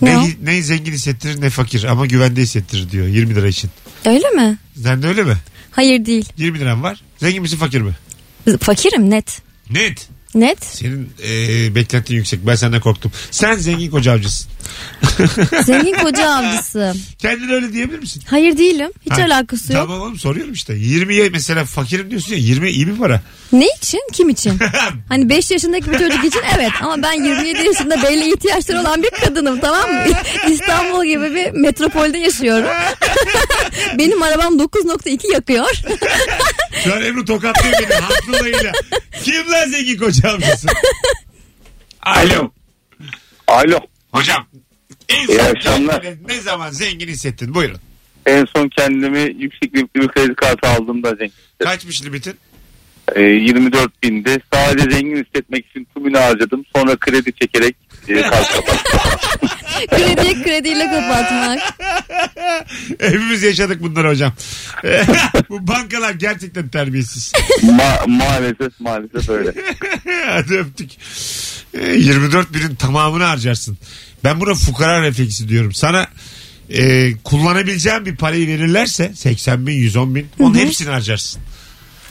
Speaker 2: Ne, ne zengin hissettirir ne fakir ama güvende hissettirir diyor 20 lira için.
Speaker 3: Öyle mi?
Speaker 2: Sen de öyle mi?
Speaker 3: Hayır değil.
Speaker 2: 20 liram var. Zengin misin fakir mi?
Speaker 3: Fakirim net.
Speaker 2: Net.
Speaker 3: Net.
Speaker 2: Senin e, beklentin yüksek. Ben senden korktum. Sen zengin koca avcısın.
Speaker 3: Zengin koca avcısı.
Speaker 2: Kendine öyle diyebilir misin?
Speaker 3: Hayır değilim. Hiç
Speaker 2: Ha,
Speaker 3: alakası yok.
Speaker 2: Tamam oğlum soruyorum işte. 20'ye mesela fakirim diyorsun ya 20 iyi bir para.
Speaker 3: Ne için? Kim için? hani 5 yaşındaki bir çocuk için evet ama ben 27 yaşında belli ihtiyaçları olan bir kadınım tamam mı? İstanbul gibi bir metropolde yaşıyorum. Benim arabam 9.2 yakıyor.
Speaker 2: Şu an Ebru tokatlıyor beni haklı olayıyla. Kim lan zengin koca avcısı? Alo.
Speaker 11: Alo.
Speaker 2: Hocam. En
Speaker 11: İyi
Speaker 2: son
Speaker 11: akşamlar.
Speaker 2: kendini Ne zaman zengin hissettin? Buyurun.
Speaker 11: En son kendimi yüksek limitli bir kredi kartı aldığımda zengin.
Speaker 2: Kaçmış limitin?
Speaker 11: E, 24 binde sadece zengin hissetmek için tümünü harcadım. Sonra kredi çekerek e, kart kapattım.
Speaker 3: Kredi krediyle kapatmak.
Speaker 2: Hepimiz yaşadık bunları hocam. Bu bankalar gerçekten terbiyesiz.
Speaker 11: Ma- maalesef maalesef öyle.
Speaker 2: Hadi öptük. E, 24 birin tamamını harcarsın. Ben buna fukara refleksi diyorum. Sana e, kullanabileceğin bir parayı verirlerse 80 bin 110 bin onun hepsini harcarsın.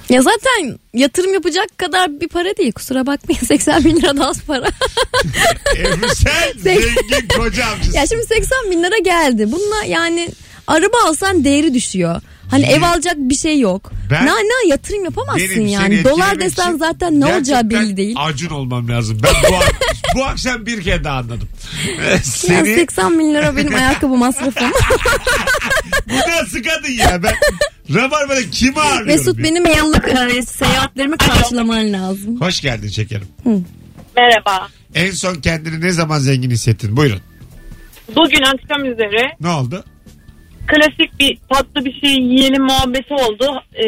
Speaker 3: Ya zaten yatırım yapacak kadar bir para değil kusura bakmayın 80 bin lira da az para.
Speaker 2: Ebru sen zengin koca amcasın.
Speaker 3: ya şimdi 80 bin lira geldi. Bununla yani araba alsan değeri düşüyor. Hani ev alacak bir şey yok.
Speaker 2: Ben-
Speaker 3: na na yatırım yapamazsın
Speaker 2: Benim seni
Speaker 3: yani. Dolar
Speaker 2: etkilemek
Speaker 3: desen
Speaker 2: için
Speaker 3: zaten ne olacağı
Speaker 2: gerçekten
Speaker 3: belli değil.
Speaker 2: Acun olmam lazım. Ben bu, ak- bu akşam bir kere daha anladım. E,
Speaker 3: Ya
Speaker 2: Seni
Speaker 3: 80 bin lira benim ayakkabı masrafım.
Speaker 2: bu nasıl kadın ya ben Rabarba'da kimi arıyorum?
Speaker 3: Mesut
Speaker 2: ya?
Speaker 3: benim yıllık e, seyahatlerimi karşılaman lazım.
Speaker 2: Hoş geldin şekerim.
Speaker 16: Merhaba.
Speaker 2: En son kendini ne zaman zengin hissettin? Buyurun.
Speaker 16: Bugün akşam üzere
Speaker 2: Ne oldu?
Speaker 16: klasik bir tatlı bir şey yiyelim muhabbeti oldu. Ee,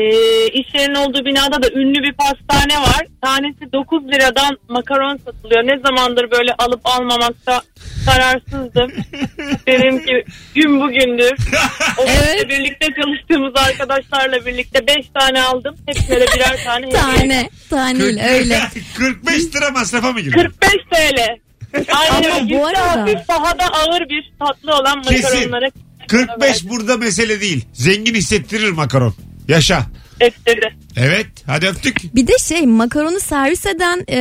Speaker 16: iş yerinin olduğu binada da ünlü bir pastane var. Tanesi 9 liradan makaron satılıyor. Ne zamandır böyle alıp almamakta kararsızdım. Dedim ki gün bugündür. O evet. birlikte çalıştığımız arkadaşlarla birlikte 5 tane aldım. Hepsine de birer tane hediye.
Speaker 3: Tane. Taneyle öyle.
Speaker 2: 45 lira masrafa mı girdi?
Speaker 16: 45 TL. Aynen
Speaker 3: Ama
Speaker 16: öyle.
Speaker 3: bu
Speaker 16: Yüzde
Speaker 3: arada-
Speaker 16: hafif daha da ağır bir tatlı olan
Speaker 2: Kesin.
Speaker 16: makaronlara
Speaker 2: 45 burada mesele değil. Zengin hissettirir makaron. Yaşa.
Speaker 16: ettirdi.
Speaker 2: Evet. Hadi öptük.
Speaker 3: Bir de şey makaronu servis eden e,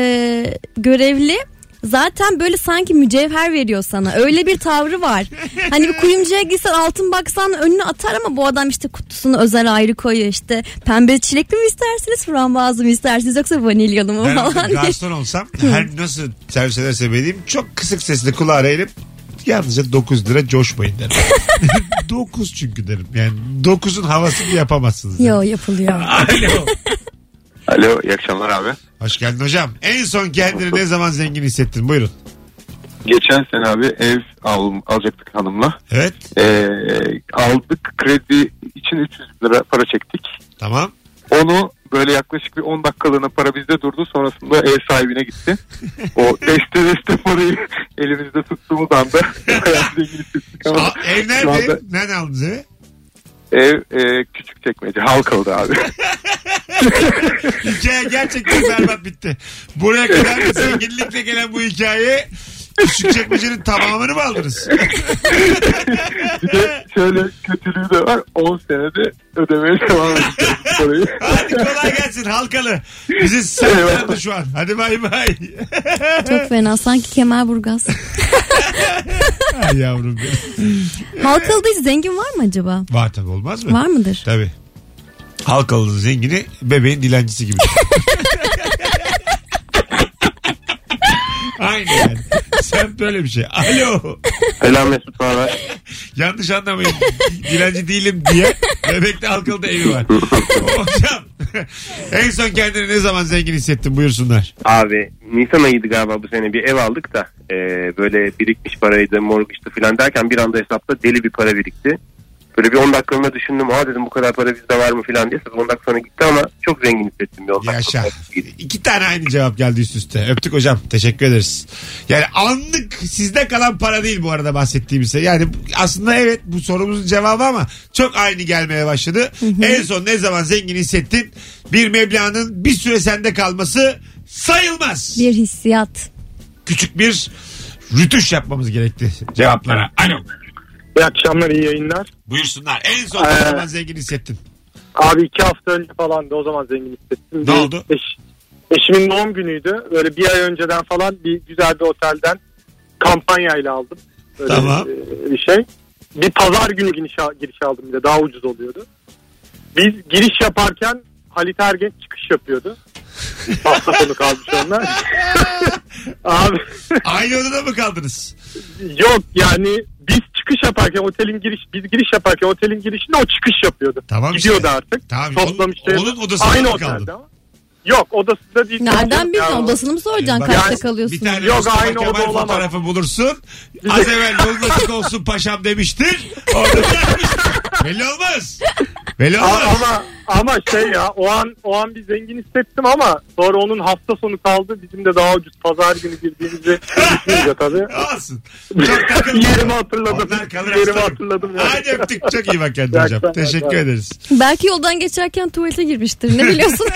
Speaker 3: görevli zaten böyle sanki mücevher veriyor sana. Öyle bir tavrı var. Hani bir kuyumcuya gitsen altın baksan önüne atar ama bu adam işte kutusunu özel ayrı koyuyor işte. Pembe çilekli mi istersiniz, frambuazlı mı istersiniz yoksa vanilyalı mı
Speaker 2: Ben
Speaker 3: falan diye.
Speaker 2: garson olsam her nasıl servis ederse benim çok kısık sesle kulağa eğilip yalnızca 9 lira coşmayın derim. 9 çünkü derim. Yani 9'un havasını yapamazsınız.
Speaker 3: Yo yapılıyor.
Speaker 2: Alo.
Speaker 4: Alo iyi akşamlar abi.
Speaker 2: Hoş geldin hocam. En son kendini ne zaman zengin hissettin? Buyurun.
Speaker 19: Geçen sene abi ev al, alacaktık hanımla.
Speaker 2: Evet.
Speaker 19: Ee, aldık kredi için 300 lira para çektik.
Speaker 2: Tamam.
Speaker 19: Onu böyle yaklaşık bir 10 dakikalığına para bizde durdu. Sonrasında ev sahibine gitti. o deste deste parayı elimizde tuttuğumuz anda bayağı zengin hissettik ama.
Speaker 2: Aa, ev
Speaker 19: şu
Speaker 2: nerede?
Speaker 19: anda
Speaker 2: Nerede aldınız evi?
Speaker 19: Ev e, küçük çekmece. Halkalı'da abi.
Speaker 2: Hikaye gerçekten berbat bitti. Buraya kadar da zenginlikle gelen bu hikaye Küçükçekmece'nin tamamını mı aldınız?
Speaker 19: bir de şöyle kötülüğü de var. 10 senede ödemeye devam edeceğiz bu parayı.
Speaker 2: Hadi kolay gelsin halkalı. Bizi sardı şu an. Hadi bay bay.
Speaker 3: Çok fena sanki Kemerburgaz.
Speaker 2: Ay yavrum benim.
Speaker 3: Halkalı'da hiç zengin var mı acaba?
Speaker 2: Var tabii olmaz mı?
Speaker 3: Var mıdır?
Speaker 2: Tabii. Halkalı'nın zengini bebeğin dilencisi gibi. Aynı yani. Sen böyle bir şey. Alo.
Speaker 4: Selam Mesut abi.
Speaker 2: Yanlış anlamayın. Dilenci değilim diye bebekte halkalıda evi var. Hocam en son kendini ne zaman zengin hissettin buyursunlar.
Speaker 4: Abi Nisan ayıydı galiba bu sene bir ev aldık da e, böyle birikmiş paraydı mortgage'dı falan derken bir anda hesapta deli bir para birikti. Böyle bir 10 dakikalığına düşündüm aa dedim bu kadar para bizde var mı falan diye. Tabii 10 dakika sonra gitti ama çok zengin hissettim bir 10 dakika.
Speaker 2: Yaşa. İki tane aynı cevap geldi üst üste. Öptük hocam. Teşekkür ederiz. Yani anlık sizde kalan para değil bu arada bahsettiğimiz şey. Yani aslında evet bu sorumuzun cevabı ama çok aynı gelmeye başladı. en son ne zaman zengin hissettin? Bir meblağının bir süre sende kalması sayılmaz.
Speaker 3: Bir hissiyat.
Speaker 2: Küçük bir rütuş yapmamız gerekti cevaplara. Alo.
Speaker 11: İyi akşamlar iyi yayınlar.
Speaker 2: Buyursunlar. En son ne
Speaker 11: Ee,
Speaker 2: zaman zengin hissettin?
Speaker 11: Abi iki hafta önce falan da o zaman zengin hissettim.
Speaker 2: Ne
Speaker 11: Bir
Speaker 2: oldu?
Speaker 11: eş- eşimin doğum günüydü. Böyle bir ay önceden falan bir güzel bir otelden kampanyayla aldım. Böyle
Speaker 2: Tamam.
Speaker 11: e, bir şey. Bir pazar günü giriş, al- giriş aldım bir de daha ucuz oluyordu. Biz giriş yaparken Halit Ergenç çıkış yapıyordu. Hafta sonu kalmış onlar. Abi
Speaker 2: Aynı odada mı kaldınız?
Speaker 11: yok yani biz çıkış yaparken otelin giriş biz giriş yaparken otelin girişinde o çıkış yapıyordu.
Speaker 2: Tamam işte.
Speaker 11: Gidiyordu artık.
Speaker 2: Tamam.
Speaker 11: Toplamıştı.
Speaker 2: Onun odasında
Speaker 11: Aynı
Speaker 2: mı
Speaker 11: otelde
Speaker 2: kaldın?
Speaker 11: ama. Yok odasında değil.
Speaker 3: Nereden
Speaker 11: Ya,
Speaker 3: bildin odasını mı soracaksın?
Speaker 2: Bak-
Speaker 3: Kaçta
Speaker 2: Yani
Speaker 3: kalıyorsun?
Speaker 2: Bir tane
Speaker 11: Yok,
Speaker 2: Mustafa
Speaker 11: aynı
Speaker 2: Kemal
Speaker 11: oda olamaz.
Speaker 2: fotoğrafı bulursun. Az evvel yoldaşlık olsun paşam demiştir. Orada bırakmış. Belli olmaz. Belli
Speaker 11: Ama,
Speaker 2: olmaz.
Speaker 11: ama ama şey ya o an o an bir zengin hissettim ama sonra onun hafta sonu kaldı. Bizim de daha ucuz pazar günü girdiğimizi düşününce tabii.
Speaker 2: Olsun. Çok takılma.
Speaker 11: Yerimi hatırladım.
Speaker 2: Onlar kalır
Speaker 11: Yerimi
Speaker 2: aslanım.
Speaker 11: hatırladım. ya.
Speaker 2: Hadi öptük. Çok iyi bak kendine
Speaker 11: İyi
Speaker 2: hocam.
Speaker 11: akşamlar.
Speaker 2: Teşekkür ederiz.
Speaker 3: Belki yoldan geçerken tuvalete girmiştir. Ne biliyorsun?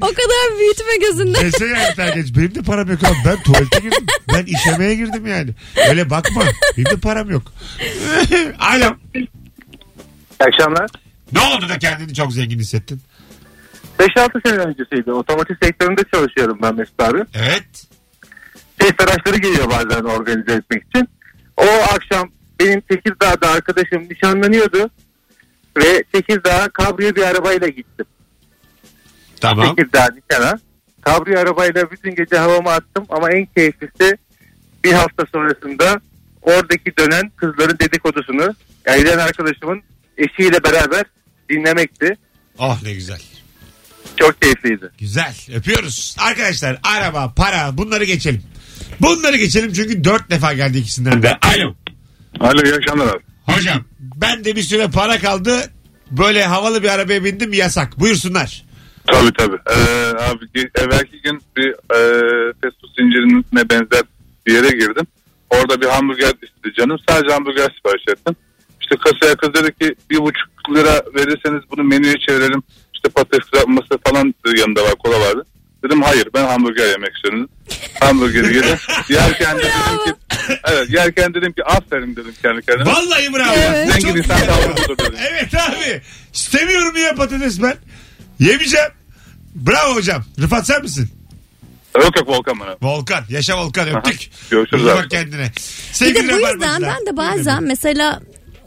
Speaker 3: o kadar büyütme gözünde.
Speaker 2: Neyse yani terk et. Benim de param yok abi. Ben tuvalete girdim. Ben işemeye girdim yani. Öyle bakma. Benim de param yok. Alo.
Speaker 11: İyi akşamlar.
Speaker 2: Ne oldu da kendini çok zengin hissettin?
Speaker 4: 5-6 sene öncesiydi. Otomotiv sektöründe çalışıyorum ben Mesut abi.
Speaker 2: Evet.
Speaker 4: Test araçları geliyor bazen organize etmek için. O akşam benim Tekirdağ'da arkadaşım nişanlanıyordu. Ve Tekirdağ'a kabriyo bir arabayla gittim.
Speaker 2: Tamam.
Speaker 4: Tekirdağ nişana. Kabriyo arabayla bütün gece havama attım ama en keyiflisi bir hafta sonrasında oradaki dönen kızların dedikodusunu evlen arkadaşımın eşiyle beraber dinlemekti.
Speaker 2: Oh ne güzel.
Speaker 4: Çok keyifliydi.
Speaker 2: Güzel. Öpüyoruz. Arkadaşlar araba, para bunları geçelim. Bunları geçelim çünkü dört defa geldi ikisinden de. Alo.
Speaker 19: Alo iyi akşamlar abi.
Speaker 2: Hocam ben de bir süre para kaldı. Böyle havalı bir arabaya bindim yasak. Buyursunlar.
Speaker 19: Tabii tabii. Ee, abi ge- evvelki gün bir e, fast food zincirine benzer bir yere girdim. Orada bir hamburger istedi canım. Sadece hamburger sipariş ettim. İşte kasaya kız dedi ki bir buçuk lira verirseniz bunu menüye çevirelim. İşte patates kızartması falan yanında var kola vardı. Dedim hayır ben hamburger yemek istiyorum. Hamburgeri yedim. Yerken de dedim ki evet yerken dedim ki aferin dedim kendi kendime.
Speaker 2: Vallahi bravo.
Speaker 19: Evet.
Speaker 2: Çok
Speaker 19: Zengin insan
Speaker 2: güzel.
Speaker 19: davranışı olur dedim.
Speaker 2: Evet abi. İstemiyorum ya patates ben. Yemeyeceğim. Bravo hocam. Rıfat sen misin?
Speaker 19: Yok yok Volkan bana.
Speaker 2: Volkan. Yaşa Volkan öptük.
Speaker 19: Görüşürüz
Speaker 2: İyi
Speaker 19: abi.
Speaker 2: Bak kendine.
Speaker 3: Bir de
Speaker 2: Sevgili
Speaker 3: bu yüzden
Speaker 2: Rabarbacılar.
Speaker 3: ben de bazen mesela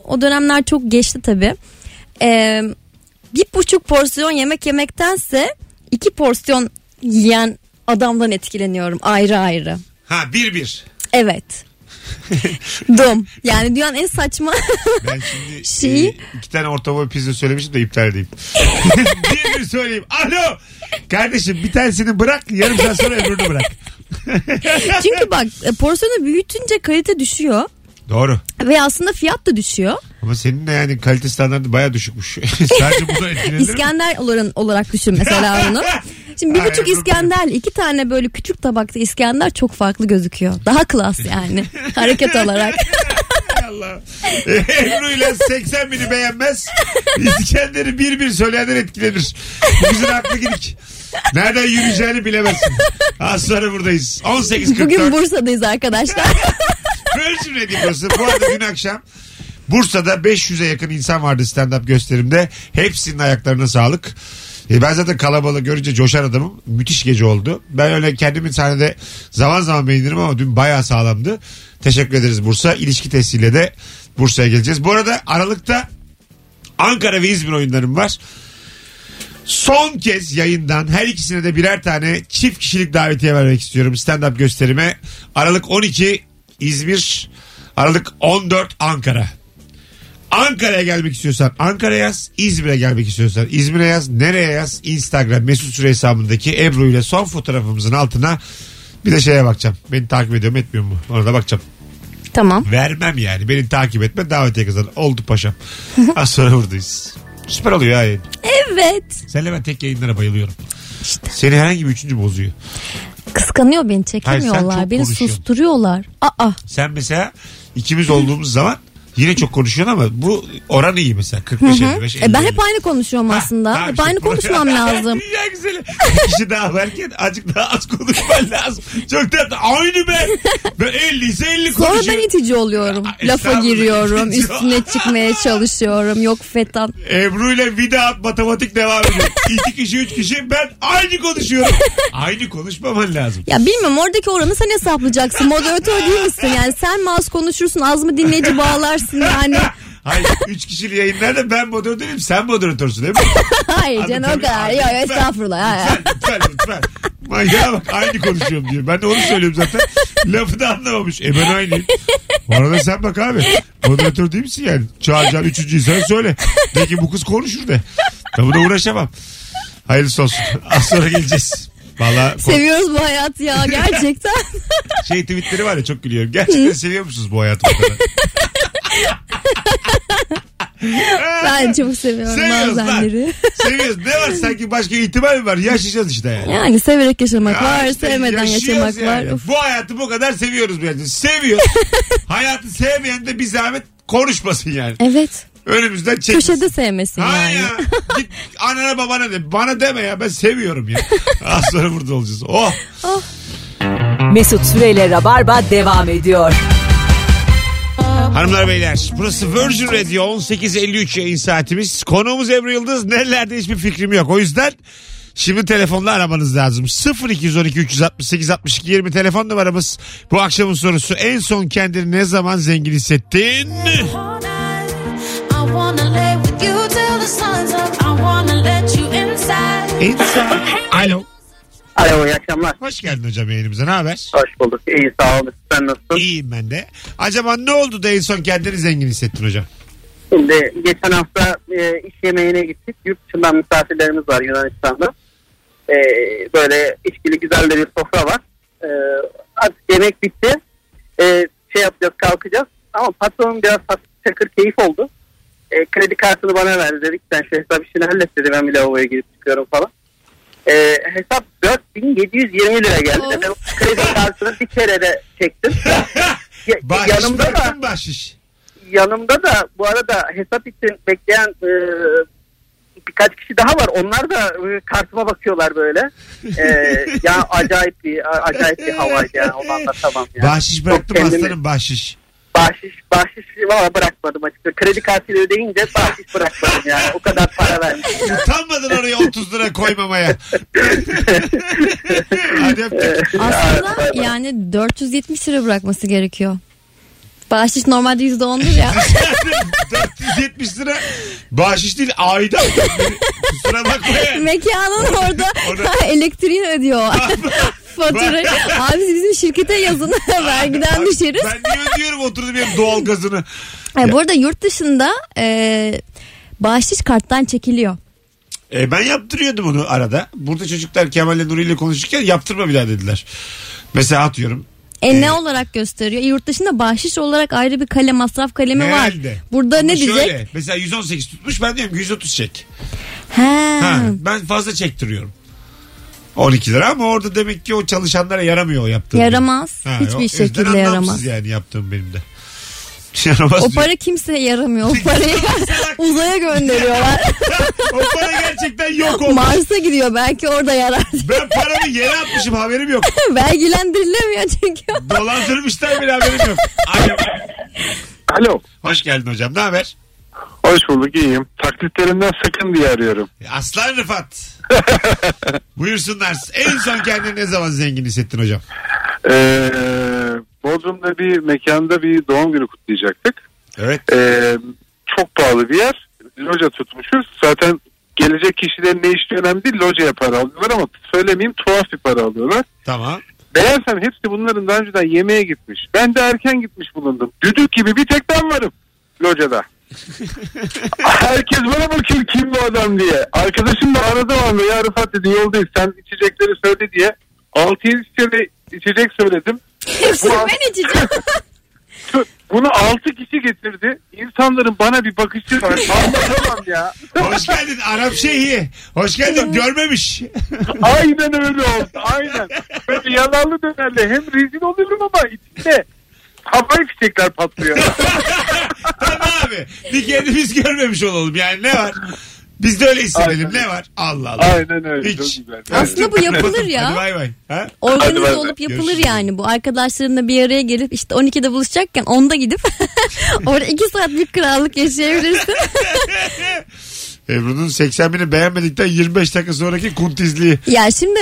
Speaker 3: o dönemler çok geçti tabii. Ee, bir buçuk porsiyon yemek yemektense iki porsiyon yiyen adamdan etkileniyorum ayrı ayrı.
Speaker 2: Ha bir bir.
Speaker 3: Evet. Dum. Yani dünyanın en saçma şeyi.
Speaker 2: İki e, tane orta boy pizza söylemişim de iptal edeyim. bir bir söyleyeyim. Alo. Kardeşim bir tanesini bırak yarım saat sonra öbürünü bırak.
Speaker 3: Çünkü bak e, porsiyonu büyütünce kalite düşüyor
Speaker 2: Doğru.
Speaker 3: ve aslında fiyat da düşüyor.
Speaker 2: Ama senin de yani kalite standartı baya düşükmüş. Sadece bu da etkilenir mi?
Speaker 3: İskender olarak, olarak düşün mesela onu. Şimdi bir
Speaker 2: Aynen.
Speaker 3: buçuk İskender iki tane böyle küçük tabakta İskender çok farklı gözüküyor. Daha klas yani hareket olarak.
Speaker 2: Ebru ile 80 bini beğenmez. İskender'i bir bir söyleyenler etkilenir. Bu Güzel haklı gidik. Nereden yürüyeceğini bilemezsin. Az sonra buradayız. 18.44.
Speaker 3: Bugün Bursa'dayız arkadaşlar.
Speaker 2: Virgin Radio burası. Bu arada dün akşam Bursa'da 500'e yakın insan vardı stand-up gösterimde. Hepsinin ayaklarına sağlık. E ben zaten kalabalığı görünce coşan adamım. Müthiş gece oldu. Ben öyle kendimi sahnede zaman zaman beğenirim ama dün bayağı sağlamdı. Teşekkür ederiz Bursa. İlişki testiyle de Bursa'ya geleceğiz. Bu arada Aralık'ta Ankara ve İzmir oyunlarım var. Son kez yayından her ikisine de birer tane çift kişilik davetiye vermek istiyorum stand-up gösterime. Aralık 12 İzmir, Aralık 14 Ankara. Ankara'ya gelmek istiyorsan Ankara yaz, İzmir'e gelmek istiyorsan İzmir'e yaz, nereye yaz? Instagram Mesut Süre hesabındaki Ebru ile son fotoğrafımızın altına bir de şeye bakacağım. Beni takip ediyor mu etmiyor mu? Ona da bakacağım.
Speaker 3: tamam.
Speaker 2: Vermem yani. Beni takip etme davetiye kazan. Oldu paşam. Az sonra buradayız. Süper oluyor ha yayın.
Speaker 3: Evet.
Speaker 2: Senle ben tek yayınlara bayılıyorum. Seni herhangi bir üçüncü bozuyor.
Speaker 3: Kıskanıyor beni çekemiyorlar.
Speaker 2: Hayır, sen çok
Speaker 3: beni
Speaker 2: konuşuyorsun.
Speaker 3: susturuyorlar. Aa.
Speaker 2: Sen mesela ikimiz olduğumuz zaman yine çok konuşuyorsun ama bu oran iyi mesela. 45 55
Speaker 3: E, ben
Speaker 2: 50.
Speaker 3: hep aynı konuşuyorum aslında. hep aynı konuşmam lazım.
Speaker 2: ya güzel. Bir kişi daha varken azıcık daha az konuşman lazım. Çok tatlı. Aynı ben. Ben 50 ise 50
Speaker 3: Sonra
Speaker 2: konuşuyorum.
Speaker 3: ben itici oluyorum. Lafa
Speaker 2: estağfurullah.
Speaker 3: giriyorum.
Speaker 2: İtici.
Speaker 3: Üstüne çıkmaya çalışıyorum. Yok fetan.
Speaker 2: Ebru ile vida at matematik devam ediyor. İki kişi üç kişi ben aynı konuşuyorum. Aynı konuşmaman lazım.
Speaker 3: Ya bilmiyorum oradaki oranı sen hesaplayacaksın. Moderatör değil misin? Yani sen mi az konuşursun az mı dinleyici bağlarsın yani.
Speaker 2: Hayır üç kişili yayınlarda ben moderatörüm sen moderatörsün değil mi?
Speaker 3: Hayır
Speaker 2: Anlatabiliyor
Speaker 3: canım o
Speaker 2: muyum?
Speaker 3: kadar.
Speaker 2: Abi,
Speaker 3: Yok
Speaker 2: ben-
Speaker 3: estağfurullah. Ha, ha.
Speaker 2: Lütfen lütfen. Manyağa bak aynı konuşuyorum diyor. Ben de onu söylüyorum zaten. Lafı da anlamamış. E ben aynıyım. Bu arada sen bak abi. Moderatör değil misin yani? Çağıracağım üçüncü insanı söyle. De ki bu kız konuşur de. Ben buna uğraşamam. Hayırlısı olsun. Az sonra geleceğiz. Valla
Speaker 3: Seviyoruz bu hayatı ya gerçekten.
Speaker 2: şey tweetleri var ya çok gülüyorum. Gerçekten seviyor musunuz bu hayatı bu kadar?
Speaker 3: ben çok seviyorum
Speaker 2: Seviyoruz lan.
Speaker 3: bazenleri.
Speaker 2: Seviyoruz. Ne var sanki başka ihtimal mi var? Yaşayacağız işte yani.
Speaker 3: Yani severek yaşamak
Speaker 2: Ya
Speaker 3: var,
Speaker 2: işte
Speaker 3: sevmeden
Speaker 2: yaşıyoruz
Speaker 3: yaşamak var.
Speaker 2: yani.
Speaker 3: Of.
Speaker 2: Bu hayatı bu kadar seviyoruz bence. Seviyoruz. Hayatı sevmeyen de bir zahmet konuşmasın yani.
Speaker 3: Evet.
Speaker 2: Önümüzden çek.
Speaker 3: Köşede sevmesin
Speaker 2: Ha
Speaker 3: yani.
Speaker 2: ya. Git anana babana de. Bana deme ya ben seviyorum ya. Az sonra burada olacağız. Oh.
Speaker 1: Mesut Süreyle Rabarba devam ediyor.
Speaker 2: Hanımlar beyler burası Virgin Radio 18.53 yayın saatimiz. Konuğumuz Ebru Yıldız nelerde hiçbir fikrim yok. O yüzden şimdi telefonla aramanız lazım. 0212 368 62 20 telefon numaramız. Bu akşamın sorusu en son kendini ne zaman zengin hissettin? İnsan. Alo.
Speaker 9: Alo iyi akşamlar.
Speaker 2: Hoş geldin hocam yayınımıza ne haber?
Speaker 9: Hoş bulduk. İyi sağ olun. Sen nasılsın?
Speaker 2: İyiyim ben de. Acaba ne oldu da en son kendini zengin hissettin hocam?
Speaker 9: Şimdi geçen hafta e, iş yemeğine gittik. Yurt dışından misafirlerimiz var Yunanistan'da. E, böyle içkili güzel de bir sofra var. E, Ee, artık yemek bitti. E, şey yapacağız kalkacağız. Ama patronun biraz hat- çakır keyif oldu. E, kredi kartını bana verdi. Dedik sen şu hesap işini hallet dedi. Ben bir lavaboya girip çıkıyorum falan. E, hesap 4720 lira geldi. Ben o kredi kartını bir kere de çektim. Ya-
Speaker 2: Bahşiş
Speaker 9: yanımda da
Speaker 2: bıraktın bahşiş.
Speaker 9: yanımda da bu arada hesap için bekleyen e, birkaç kişi daha var. Onlar da e, kartıma bakıyorlar böyle. E, ya acayip bir a- acayip bir hava ya. Onu anlatamam ya.
Speaker 2: Bahşiş bıraktım
Speaker 9: Çok kendimi-
Speaker 2: aslanım bahşiş.
Speaker 9: Bahşiş, bahşiş valla bırakmadım açıkçası. Kredi kartıyla ödeyince bahşiş bırakmadım yani. O kadar para vermiştim.
Speaker 2: Utanmadın oraya 30 lira koymamaya. Hadi öptük.
Speaker 3: Aslında yani 470 lira bırakması gerekiyor. Bahşiş normalde %10'dur ya.
Speaker 2: 470 lira bahşiş değil aidat. Kusura bakma ya.
Speaker 3: Mekanın orada
Speaker 2: Orada-
Speaker 3: elektriğini ödüyor. Faturayı. Abi siz bizim şirkete yazın vergiden düşeriz.
Speaker 2: Ben niye ödüyorum oturdum yerim doğalgazını.
Speaker 3: Ay, E, bu arada yurt dışında e, bahşiş karttan çekiliyor.
Speaker 2: E, ben yaptırıyordum onu arada. Burada çocuklar Kemal'le Nuri ile konuşurken yaptırma bile dediler. Mesela atıyorum.
Speaker 3: E ne olarak gösteriyor? E, yurt dışında bahşiş olarak ayrı bir kale masraf kalemi var.
Speaker 2: Herhalde.
Speaker 3: Burada
Speaker 2: Ama
Speaker 3: ne diyecek?
Speaker 2: Şöyle, mesela 118 tutmuş ben diyorum ki 130 çek.
Speaker 3: He.
Speaker 2: Ha, ben fazla çektiriyorum. 12 lira ama orada demek ki o çalışanlara yaramıyor o yaptığım.
Speaker 3: Yaramaz.
Speaker 2: Ha, o
Speaker 3: Hiçbir
Speaker 2: yüzden
Speaker 3: şekilde
Speaker 2: anlamsız
Speaker 3: yaramaz.
Speaker 2: yani yaptığım benim de. Yaramaz
Speaker 3: O
Speaker 2: diyor.
Speaker 3: para kimseye yaramıyor. O parayı uzaya gönderiyorlar.
Speaker 2: o para gerçekten yok olmuş.
Speaker 3: Mars'a gidiyor belki orada yarar.
Speaker 2: Ben paramı yere atmışım haberim yok.
Speaker 3: Vergilendirilemiyor çünkü.
Speaker 2: Dolandırmışlar beni haberim yok. Alo. Alo. Hoş geldin hocam ne haber?
Speaker 12: Hoş bulduk iyiyim. Taklitlerimden sakın diye arıyorum.
Speaker 2: Aslan Rıfat. Buyursunlar. En son kendini ne zaman zengin hissettin hocam?
Speaker 12: Ee, Bodrum'da bir mekanda bir doğum günü kutlayacaktık.
Speaker 2: Evet.
Speaker 12: Ee, çok pahalı bir yer. Loja tutmuşuz. Zaten gelecek kişilerin ne işi önemli değil. Lojaya para alıyorlar ama söylemeyeyim tuhaf bir para alıyorlar.
Speaker 2: Tamam.
Speaker 12: Meğersem hepsi bunların daha önceden yemeğe gitmiş. Ben de erken gitmiş bulundum. Düdük gibi bir tek ben varım locada. Herkes bana bakıyor kim bu adam diye. Arkadaşım da aradı bana ya Rıfat dedi yoldayız sen içecekleri söyle diye. 6-7 içecek, içecek söyledim.
Speaker 3: Hepsini ben içeceğim.
Speaker 12: Bunu 6 kişi getirdi. İnsanların bana bir bakışı var. Anlatamam ya.
Speaker 2: Hoş geldin Arap Şeyhi. Hoş geldin görmemiş.
Speaker 12: Aynen öyle oldu. Aynen. Böyle yalanlı dönerle hem rezil oluyorum ama içinde havai fişekler patlıyor.
Speaker 2: Abi bir kere biz görmemiş olalım yani ne var? Biz de öyle hissedelim ne var? Allah Allah.
Speaker 12: Aynen öyle.
Speaker 2: Hiç.
Speaker 3: Aslında bu yapılır ya.
Speaker 2: Hadi bay bay. Ha?
Speaker 3: Organize olup yapılır yani bu. Arkadaşlarınla bir araya gelip işte 12'de buluşacakken 10'da gidip orada 2 saat bir krallık yaşayabilirsin.
Speaker 2: Ebru'nun 80 bini beğenmedikten 25 dakika sonraki kuntizliği.
Speaker 3: ya şimdi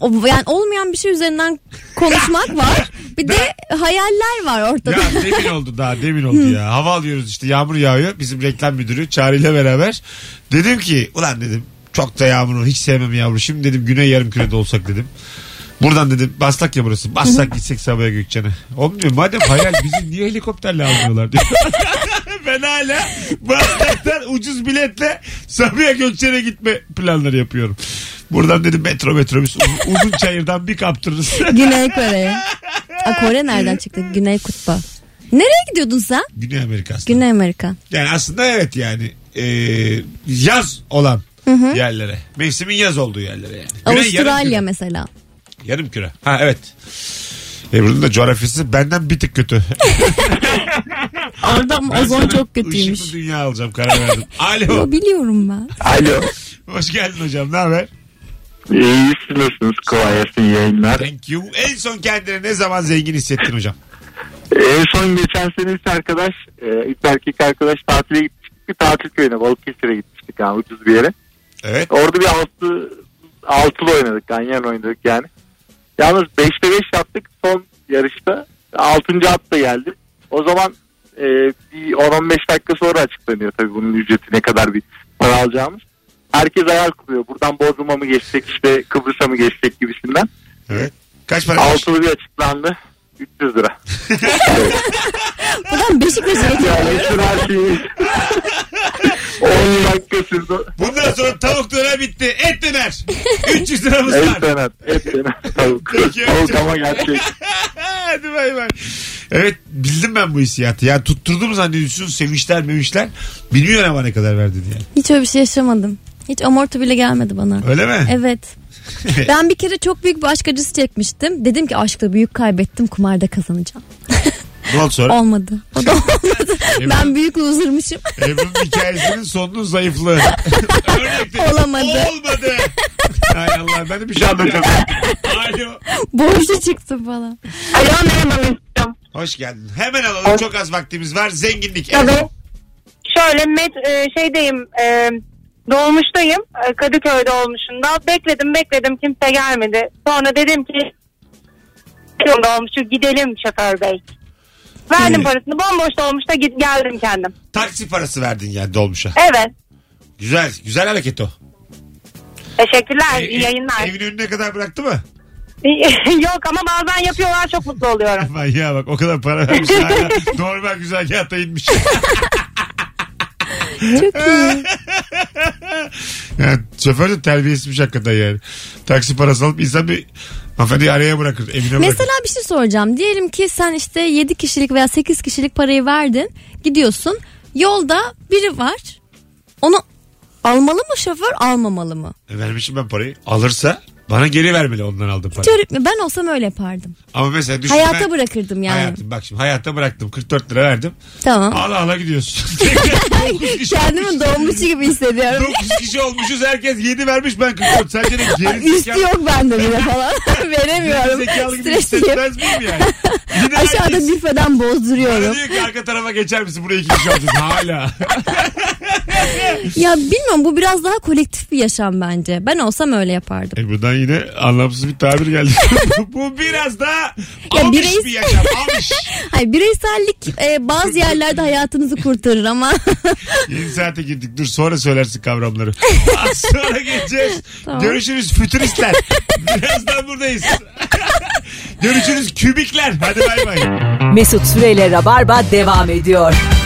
Speaker 3: o- yani olmayan bir şey üzerinden konuşmak var. Bir de hayaller var ortada.
Speaker 2: Ya demin oldu daha demin oldu ya. Hava alıyoruz işte yağmur yağıyor. Bizim reklam müdürü Çağrı ile beraber. Dedim ki ulan dedim çok da yağmuru hiç sevmem yağmuru. Şimdi dedim güney yarım kürede olsak dedim. Buradan dedim Baslak ya burası. Baslak gitsek Sabah'a Gökçen'e. Oğlum diyor madem hayal bizi niye helikopterle almıyorlar diyor. ben hala Baslak'tan ucuz biletle Sabiha Gökçen'e gitme planları yapıyorum. Buradan dedim metro metrobüs uz- uzun çayırdan bir kaptırırız.
Speaker 3: Güney Kore'ye. Aa, Kore nereden çıktı? Güney Kutbu. Nereye gidiyordun sen?
Speaker 2: Güney Amerika aslında.
Speaker 3: Güney Amerika.
Speaker 2: Yani aslında evet yani e, yaz olan
Speaker 3: Hı hı.
Speaker 2: yerlere. Mevsimin yaz olduğu yerlere yani. Güney Yarım,
Speaker 3: Avustralya mesela.
Speaker 2: küre. yarım küre. Ha evet. Ebru'nun da coğrafyası benden bir tık kötü.
Speaker 3: Orada
Speaker 2: Ben
Speaker 3: ozon
Speaker 2: sana
Speaker 3: çok kötüymüş.
Speaker 2: ışıklı dünya alacağım karar verdim. Alo.
Speaker 3: Yo, biliyorum ben.
Speaker 20: Alo.
Speaker 2: Hoş geldin hocam ne haber?
Speaker 20: İyisiniz. Kolay gelsin yayınlar.
Speaker 2: Thank you. En son kendini ne zaman zengin hissettin hocam?
Speaker 20: En son geçen sene işte arkadaş, e, iki erkek arkadaş tatile gitmiştik. Bir tatil köyüne Balıkesir'e gitmiştik yani ucuz bir yere.
Speaker 2: Evet.
Speaker 20: Orada bir altı, altılı oynadık. Ganyan oynadık yani. Yalnız beşte beş yaptık son yarışta. Altıncı at da geldi. O zaman e, bir 10-15 dakika sonra açıklanıyor tabii bunun ücreti ne kadar bir para alacağımız. Herkes hayal kuruyor. Buradan Bodrum'a mı geçsek işte Kıbrıs'a mı geçsek gibisinden.
Speaker 2: Evet. Kaç para?
Speaker 20: Altılı bir açıklandı. 300 lira.
Speaker 3: Buradan Beşiktaş'a
Speaker 20: Yani
Speaker 3: geçiyorum.
Speaker 20: şunu her şeyi 10 dakika sürdü.
Speaker 2: Bundan sonra tavuk döner bitti. Et döner. 300 liramız var.
Speaker 20: Et döner. Et döner. Tavuk.
Speaker 2: Peki,
Speaker 20: Tavuk
Speaker 2: öptüm.
Speaker 20: ama gerçek.
Speaker 2: Hadi bay bay. Evet bildim ben bu hissiyatı. Ya tutturdum zannediyorsun sevinçler mevinçler. Bilmiyorum ama ne kadar verdi diye.
Speaker 3: Hiç öyle bir şey yaşamadım. Hiç amortu bile gelmedi bana.
Speaker 2: Öyle mi?
Speaker 3: Evet. ben bir kere çok büyük bir aşk acısı çekmiştim. Dedim ki aşkla büyük kaybettim kumarda kazanacağım.
Speaker 2: Ne oldu sonra?
Speaker 3: Olmadı. O da olmadı.
Speaker 2: Ebru-
Speaker 3: ben büyük losermışım.
Speaker 2: Ebru'nun hikayesinin sonunun zayıflığı.
Speaker 3: Olamadı.
Speaker 2: Olmadı. Hay Allah ben de bir şey anlatamam. Alo.
Speaker 3: Borçlu çıktım falan.
Speaker 2: Hoş geldin. Hemen alalım. Çok az vaktimiz var. Zenginlik.
Speaker 10: Tabii. Şöyle met, e, şeydeyim e, dolmuştayım e, Kadıköy dolmuşunda. Bekledim bekledim kimse gelmedi. Sonra dedim ki dolmuşu gidelim şoför bey. Verdim parasını bomboş dolmuşta git, geldim kendim.
Speaker 2: Taksi parası verdin yani dolmuşa.
Speaker 10: Evet
Speaker 2: Güzel. Güzel hareket o.
Speaker 10: teşekkürler
Speaker 2: E,
Speaker 10: iyi yayınlar.
Speaker 2: Evin önüne kadar bıraktı mı?
Speaker 10: Yok ama bazen yapıyorlar çok mutlu oluyorum.
Speaker 2: Manyağa bak o kadar para vermiş hala. Normal güzel kağıtta inmiş.
Speaker 3: Çok iyi.
Speaker 2: Yani şoför de terbiyesizmiş hakikaten yani. Taksi parası alıp insan bir hanımefendiyi araya bırakır. Evine bırakır.
Speaker 3: Mesela bir şey soracağım. Diyelim ki sen işte 7 kişilik veya 8 kişilik parayı verdin. Gidiyorsun. Yolda biri var. Onu almalı mı şoför almamalı mı?
Speaker 2: E, Vermişim ben parayı. Alırsa bana geri vermeli ondan aldığım
Speaker 3: Hiç
Speaker 2: parayı.
Speaker 3: öğretme- Ben olsam öyle yapardım.
Speaker 2: Ama mesela düşün
Speaker 3: Hayata
Speaker 2: ben-
Speaker 3: bırakırdım yani.
Speaker 2: Hayatım bak şimdi hayata bıraktım. 44 lira verdim.
Speaker 3: Tamam.
Speaker 2: Ala ala gidiyorsun.
Speaker 3: Kendimi dolmuşu gibi hissediyorum.
Speaker 2: 9 kişi olmuşuz herkes 7 vermiş ben 44. Sence de geri
Speaker 3: Üstü yok bende bile falan. Veremiyorum.
Speaker 2: Zekalı gibi
Speaker 3: Stresliyim.
Speaker 2: hissetmez miyim yani? Yine
Speaker 3: Aşağıda
Speaker 2: herkes-
Speaker 3: büfeden
Speaker 2: Bana
Speaker 3: bozduruyorum.
Speaker 2: diyor ki arka tarafa geçer misin? Buraya iki kişi olacağız hala.
Speaker 3: ya bilmiyorum bu biraz daha kolektif bir yaşam bence. Ben olsam öyle yapardım.
Speaker 2: E buradan yine anlamsız bir tabir geldi. Bu- Bu biraz daha
Speaker 3: Ya
Speaker 2: amış
Speaker 3: bireys-
Speaker 2: bir yaşam. Amış.
Speaker 3: Hayır bireysellik e, bazı yerlerde hayatınızı kurtarır ama
Speaker 2: Yeni saate girdik. Dur sonra söylersin kavramları. Az sonra geleceğiz.
Speaker 3: Tamam.
Speaker 2: Görüşürüz fütüristler. Birazdan buradayız. Görüşürüz kübikler. Hadi bay bay.
Speaker 1: Mesut Süreyle Rabarba devam ediyor.